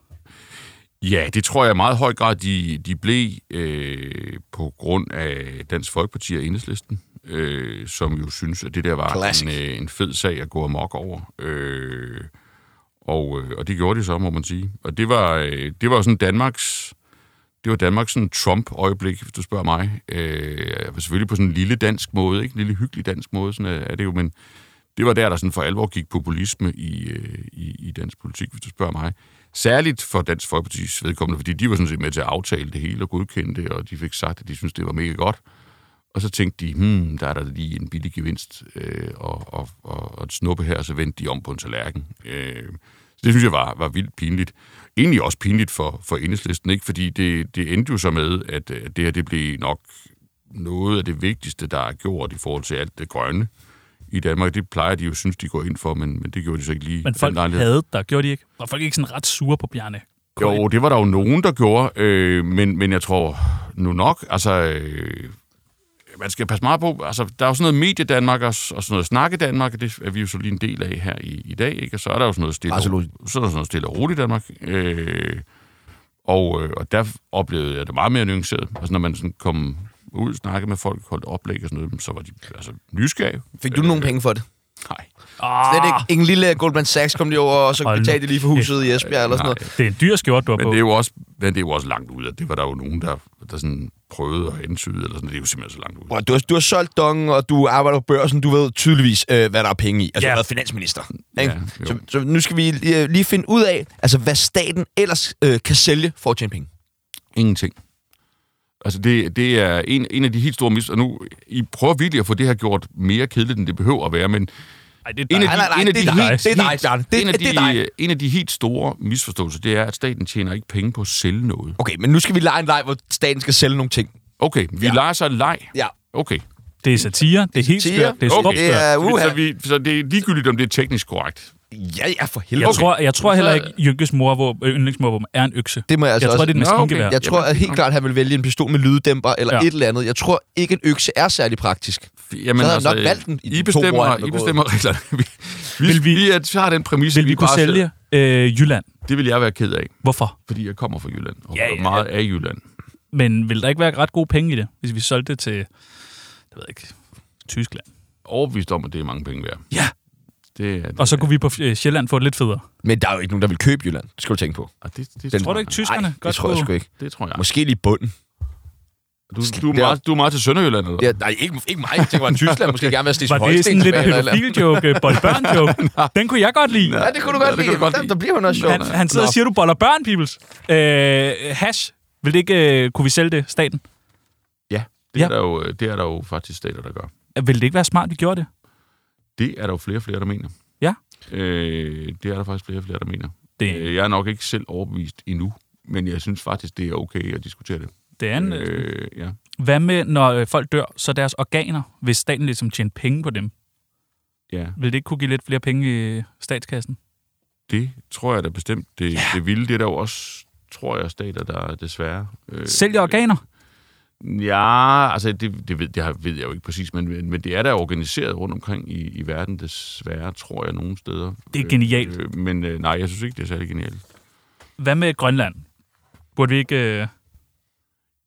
Ja, det tror jeg i meget høj grad, de, de blev øh, på grund af Dansk Folkeparti og Enhedslisten, øh, som jo synes, at det der var
Classic.
en, øh, en fed sag at gå amok over. Øh, og, øh, og det gjorde de så, må man sige. Og det var, øh, det var jo sådan Danmarks... Det var Danmarks sådan Trump-øjeblik, hvis du spørger mig. Øh, selvfølgelig på sådan en lille dansk måde, ikke? En lille hyggelig dansk måde, sådan er er det jo, men det var der, der sådan for alvor gik populisme i, øh, i, i dansk politik, hvis du spørger mig. Særligt for Dansk Folkeparti's vedkommende, fordi de var sådan set med til at aftale det hele og godkende det, og de fik sagt, at de syntes, det var mega godt. Og så tænkte de, hmm, der er der lige en billig gevinst øh, og, og, og, og et snuppe her, og så vendte de om på en tallerken. Øh, så det synes jeg var, var vildt pinligt. Egentlig også pinligt for, for enhedslisten, ikke? fordi det, det endte jo så med, at øh, det her det blev nok noget af det vigtigste, der er gjort i forhold til alt det grønne i Danmark. Det plejer de jo, synes de går ind for, men, men det gjorde de så ikke lige.
Men
ved
folk
den lejlighed.
havde der, gjorde de ikke? Var folk ikke sådan ret sure på Bjarne?
Jo, det var der jo nogen, der gjorde, øh, men, men jeg tror nu nok, altså, øh, man skal passe meget på, altså, der er jo sådan noget mediedanmark og, og sådan noget snakke Danmark, og det er vi jo så lige en del af her i, i dag, ikke? Og så er der jo sådan noget stille,
Absolut.
så er der sådan noget stille og roligt Danmark, øh, og, øh, og der oplevede jeg det meget mere nuanceret. Altså, når man sådan kom ud og snakkede med folk, holdt oplæg og sådan noget, så var de altså, nysgerrige. Øh,
fik du nogen penge for det?
Nej.
Slet ikke. En lille Goldman Sachs kom lige over, og så
Ah. Hold
kunne vi
nu
tage det lige for huset i Esbjerg eller sådan noget.
Det er en dyr skjort, du har
Men
på.
det er jo også, men det er jo også langt ud, og det var der jo nogen, der, der sådan prøvede at antyde, eller sådan, det er jo simpelthen så langt ud.
Bror, du, har, du har solgt dong, og du arbejder på børsen. Du ved tydeligvis, øh, hvad der er penge i. Altså,
Ja.
du har været finansminister. Ikke?
Ja, jo.
så, så nu skal vi lige, øh, lige finde ud af, altså, hvad staten ellers øh, kan sælge for at tjene penge.
Ingenting. Altså, det, det er en, en af de helt store mis... Og nu, I prøver virkelig at få det her gjort mere kedeligt, end det behøver at være, men
Ej, det er
en
dig.
af de- en af
det
de
er dig.
helt-
Det er dig, Bjarne. Det,
en, af de,
det er dig.
en af de helt store misforståelser, det er, at staten tjener ikke penge på at sælge noget.
Okay, men nu skal vi lege en leg, hvor staten skal sælge nogle ting.
Okay, vi ja. leger sig en leg.
Ja.
Okay.
Det er satire, det er helt
Satire.
skørt, det er
Okay.
okay.
Det er uha.
Så, vi, så det er ligegyldigt, om det er teknisk korrekt.
Ja, ja, for helvede.
Jeg,
Okay.
tror, jeg tror
Så-
heller ikke, Jynkes mor, hvor, øh, yndlingsmorvåben er en økse.
Det må jeg altså
jeg tror,
også-
det er et
Nå, okay.
maskingevær.
Jeg tror at helt klart, at han vil vælge en pistol med lyddæmper eller
Ja.
ja. et eller andet. Jeg tror ikke, en økse er særlig praktisk.
Jamen, altså,
havde jeg nok valgt den i
I
de to
bestemmer,
år, han var
I
gået.
bestemmer reglerne. Vi, vi,
Vil
vi,
vi-
vi, tager den præmis,
Vil
at
vi kunne
bare
sælge øh, Jylland?
Det vil jeg være ked af,
Hvorfor?
fordi jeg kommer fra Jylland, og
Ja,
ja,
ja,
ja, meget af Jylland.
Men vil der ikke være ret gode penge i det, hvis vi solgte det til, jeg ved ikke, Tyskland?
Overbevist om, at det er mange penge værd.
Ja,
Det, er- det,
og så kunne vi på øh, Sjælland få det lidt federe.
Men der er jo ikke nogen, der vil købe Jylland. Det skal du tænke på.
er- og det, det,
Den-
Tror du ikke, tyskerne
Nej, det tror jeg
kunne-
sgu ikke.
Det tror jeg.
Måske lige bunden.
Du, du, er meget, du er meget til Sønderjylland, eller?
Ja, nej, ikke, ikke mig. Jeg tænker bare, Tyskland måske gerne være Stesen
Var det sådan lidt pædofil-joke, øh, bolle-børn-joke? Den kunne jeg godt lide.
Ja, det kunne du godt
Ja, det
lide.
kunne du godt
Der,
lide.
der bliver jo noget sjovt.
Han, han sidder og siger, du boller børn, peoples. Øh, hash. Vil det ikke, øh, kunne vi sælge det, staten?
ja. Det,
Ja.
Er der jo, øh, det er der jo faktisk stater, der gør.
Øh, Vil det ikke være smart, vi gjorde det?
Det er der jo flere og flere, der mener.
Ja.
Øh, det er der faktisk flere og flere, der mener.
Det,
Øh, jeg er nok ikke selv overbevist endnu, men jeg synes faktisk, det er okay at diskutere det.
det er en, øh,
Øh, ja.
Hvad med, når øh, folk dør, så deres organer, hvis staten ligesom tjener penge på dem?
ja.
Vil det ikke kunne give lidt flere penge i øh, statskassen?
Det tror jeg da bestemt. Det, ja. det vilde, det er der jo også, tror jeg, stater, der desværre... Øh,
Sælge organer?
Ja, altså det, det, ved, det har- ved jeg jo ikke præcis, men, men men det er da organiseret rundt omkring i, i verden, desværre, tror jeg, nogle steder.
Det er genialt.
Øh, men øh, nej, jeg synes ikke, det er særlig genialt.
Hvad med Grønland? Burde vi ikke... Øh...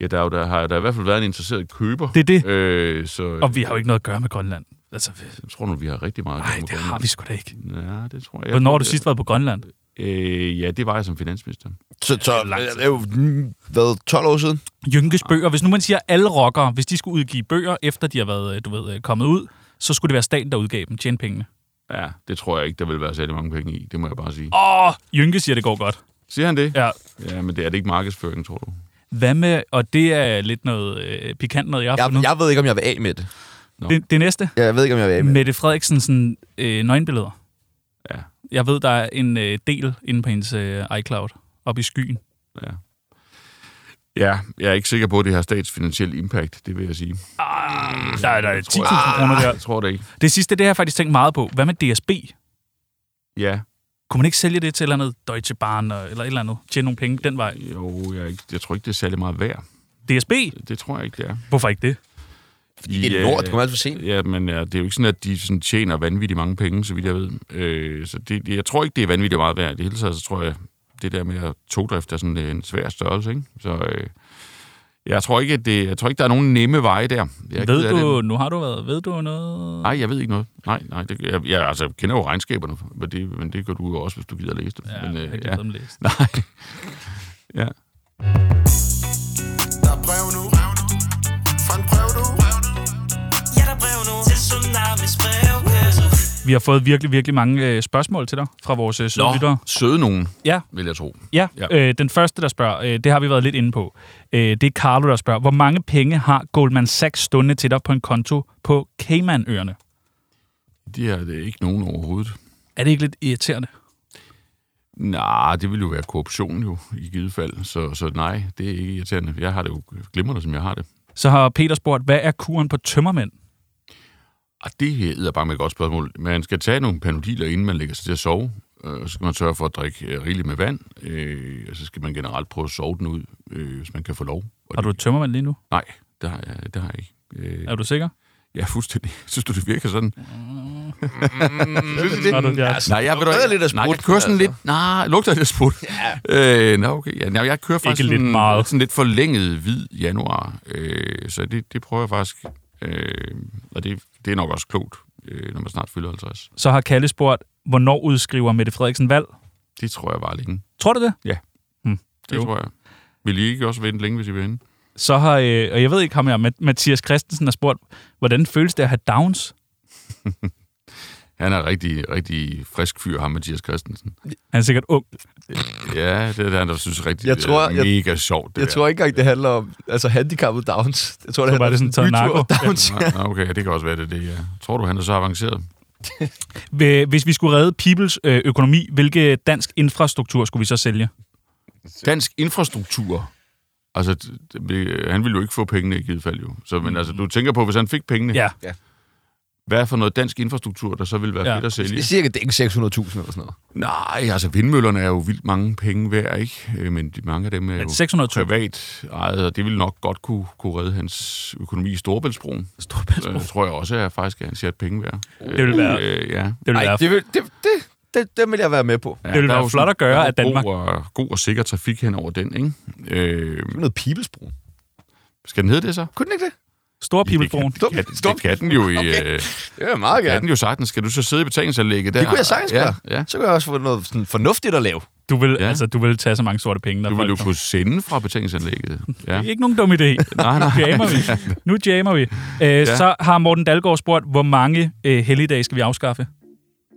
Ja, der, er jo, der har der har i hvert fald været en interesseret køber.
Det er det.
Øh, så
Og vi har jo ikke noget at gøre med Grønland. Altså,
jeg tror nu, vi har rigtig meget at
nej,
gøre med
det har vi sgu da ikke.
Grønland. Ja, det tror jeg.
Hvornår har du sidst været på Grønland?
Øh, ja, det var jeg som finansminister.
Så, så det er jo mm, hvad, 12 år siden?
Jynkes bøger. Hvis nu man siger, at alle rockere, hvis de skulle udgive bøger, efter de har været, øh, du ved, øh, kommet ud, så skulle det være staten, der udgav dem, tjene pengene.
Ja, det tror jeg ikke, der vil være særlig mange penge i. Det må jeg bare sige.
Åh, Jynke siger, det går godt.
Siger han det?
Ja.
Ja, men det er det ikke markedsføring, tror du?
Hvad med, og det er lidt noget øh, pikant noget, jeg har
Jeg,
fundet.
jeg ved ikke, om jeg vil af med det.
Det, det næste,
Jeg ved ikke, om jeg vil af med det.
Mette Frederiksens sådan, øh, nøgenbilleder.
Ja.
Jeg ved, der er en øh, del inde på hendes øh, iCloud, oppe i skyen.
Ja, jeg er ikke sikker på, at det har statsfinansiel impact, det vil jeg sige.
Der er, der er 10.000 kroner der.
Ah, Jeg Ah, tror det ikke.
Det sidste, det har jeg faktisk tænkt meget på. Hvad med DSB?
Ja,
Kunne man ikke sælge det til et eller andet Deutsche Bahn og- eller et eller andet? Tjene nogle penge den vej.
jo, jeg, er ikke, jeg tror ikke, det er særlig meget værd.
DSB?
Det tror jeg ikke, det er.
Hvorfor ikke det?
Fordi det er lort, det kommer alt for sent.
Ja, men ja, det er jo ikke sådan, at de sådan, tjener vanvittigt mange penge, så vidt jeg ved. Øh, så det, det, jeg tror ikke, det er vanvittigt meget værd. I det hele taget, så tror jeg, det der med at togdrift er sådan øh, en svær størrelse, ikke? Så øh, jeg, tror ikke, at det, jeg tror ikke, der er nogen nemme veje der. Jeg er ked
Ved
af det. Ah,
du, nu har du været, ved du noget?
Nej, jeg ved ikke noget. Nej, nej. Det, jeg, jeg altså, kender jo regnskaberne, men det, men det gør du jo også, hvis du gider læse dem.
Ja,
men, øh,
jeg gider dem læse.
Nej. ja.
Der er brev nu Fra en brev nu
Ja, der er brev nu til Tsunamis brevkasse.
Vi har fået virkelig, virkelig mange øh, spørgsmål til dig fra vores øh, søde lyttere.
søde nogen,
Ja,
vil jeg tro.
ja.
Ja.
Øh, den første, der spørger, øh, det har vi været lidt inde på. Øh, det er Carlo, der spørger, hvor mange penge har Goldman Sachs stående til dig på en konto på Caymanøerne?
De er det ikke nogen overhovedet.
Er det ikke lidt irriterende?
Nej, det ville jo være korruption jo, i givet fald. Så, så nej, det er ikke irriterende. Jeg har det jo glimrende, som jeg har det.
Så har Peter spurgt, hvad er kuren på tømmermænd?
Og det er bare med et godt spørgsmål. Man skal tage nogle panodiler, inden man lægger sig til at sove. Øh, Og så skal man sørge for at drikke øh, rigeligt med vand. Øh, og så skal man generelt prøve at sove den ud, øh, hvis man kan få lov. Og
Har du
det-
et tømmermænd lige nu?
Nej, det har jeg, det har jeg ikke. Øh,
Er du sikker?
ja, fuldstændig. Synes du, det virker sådan?
Synes I det?
Har du, ja.
Nej, jeg, ved du,
lugter
hvad,
Altså, lidt af
nej,
sprut,
jeg kører sådan
altså.
lidt... Nej, lugter lidt af sprut. Ja. Øh, nå, okay. Ja, nej, jeg kører faktisk
lidt
sådan,
meget.
sådan lidt forlænget hvid januar. Øh, så det, det prøver jeg faktisk. Øh, og det, det er nok også klogt, øh, når man snart fylder 50.
Så har Kalle spurgt, hvornår udskriver Mette Frederiksen valg?
Det tror jeg var længe.
Tror du det?
Det
Jo.
jo. tror jeg. Vil I ikke også vente længe, hvis I vil hende?
Så har, øh, og jeg ved ikke ham her, Mat- Mathias Christensen har spurgt, hvordan føles det at have Downs?
Han er en rigtig, rigtig frisk fyr, ham Mathias Christensen.
Han er sikkert ung.
Ja, det er det, han, der synes er rigtig
Jeg tror,
øh,
jeg-
mega sjovt. Det
Jeg tror ikke engang, det handler om altså, handicappet downs. Jeg tror, det
Så var
handler
det
om
sådan
bytur
Tornaco. Ja.
downs.
Nå, okay, det kan også være det, er det ja. Tror du, han er så avanceret?
Hvi- Hvis vi skulle redde peoples øh, økonomi, hvilke dansk infrastruktur skulle vi så sælge?
Dansk infrastruktur. Altså, d- d- han ville jo ikke få pengene i givet fald jo. Så, men altså, du tænker på, hvis han fik pengene,
Ja.
hvad for noget dansk infrastruktur, der så ville være
Ja.
ja. fedt
Det
at sælge?
er cirka dække 600.000 eller sådan noget.
Nej, altså vindmøllerne er jo vildt mange penge værd, ikke? Øh, Men de, mange af dem er
Men
jo
600.000.
privat ejet, og det ville nok godt kunne, kunne redde hans økonomi i Storebæltsbroen.
Storbæltsbro.
Øh, tror jeg også, at jeg faktisk anser et penge værd.
Det ville være-
Øh, ja.
Det ville
Nej,
være,
det, vil, det, det, det, det vil jeg være med på.
Ja,
det ville
der er
være
jo
flot
sådan-
at gøre,
der er jo
at Danmark-
God og, god og sikker trafik hen over den, ikke? Øh,
Noget pibelsbrug.
skal den hedde det så?
Kunne den ikke det?
Stor peoplebroen.
Stop.
Ja, det,
Stop.
det kan den jo i... Okay. Øh,
Det vil jeg meget
kan
gerne.
den jo sagtens. Skal du så sidde i betalingsanlægget der?
Det kunne jeg sagtens
ja,
gøre.
ja.
Så kunne jeg også få noget sådan fornuftigt at lave.
Du vil, ja.
Ja.
altså, du vil tage så mange sorte penge. Der
Du vil jo
folk-
kunne sende fra betalingsanlægget. Ja.
Ikke nogen dum idé.
Nej,
Nu
nej.
jammer vi. Nu jammer vi. Øh, ja. Så har Morten Dalgaard spurgt, hvor mange øh, helligdage skal vi afskaffe?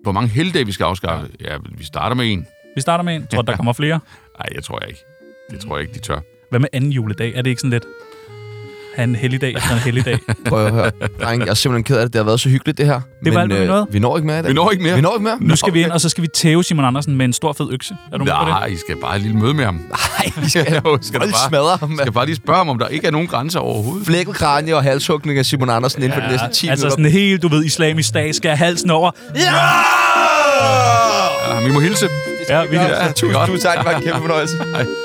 Hvor mange helgedage vi skal afskaffe? Ja, vi starter med en.
Vi starter med en. Tror du, der kommer flere?
Nej, jeg tror jeg ikke. Det tror jeg ikke, de tør.
Hvad med anden juledag? Er det ikke sådan lidt? Han en helligdag efter en helligdag.
Prøv at høre. Dreng, jeg er simpelthen ked af det. Det har været så hyggeligt, det her. øh,
Det var alt, hvad vi nåede.
vi når ikke mere i dag.
Vi når ikke mere.
Vi når ikke mere.
Nu skal vi ind, og så skal vi tæve Simon Andersen med en stor fed økse. Er du med på det?
Nej, I skal bare et lille møde med ham.
Nej, vi skal,
Ja, jo, skal
Hold
du bare-
smadre ham.
Jeg skal bare lige spørge ham, om der ikke er nogen grænser overhovedet.
Flækket kranje og halshugning af Simon Andersen inden for de næste 10
altså
minutter.
sådan helt, du ved, islamisk stat skal have halsen over.
Ja, vi må hilse.
Ja, vi
Ja, tusind,
godt.
tusind tak. Det var en kæmpe fornøjelse.
Hej.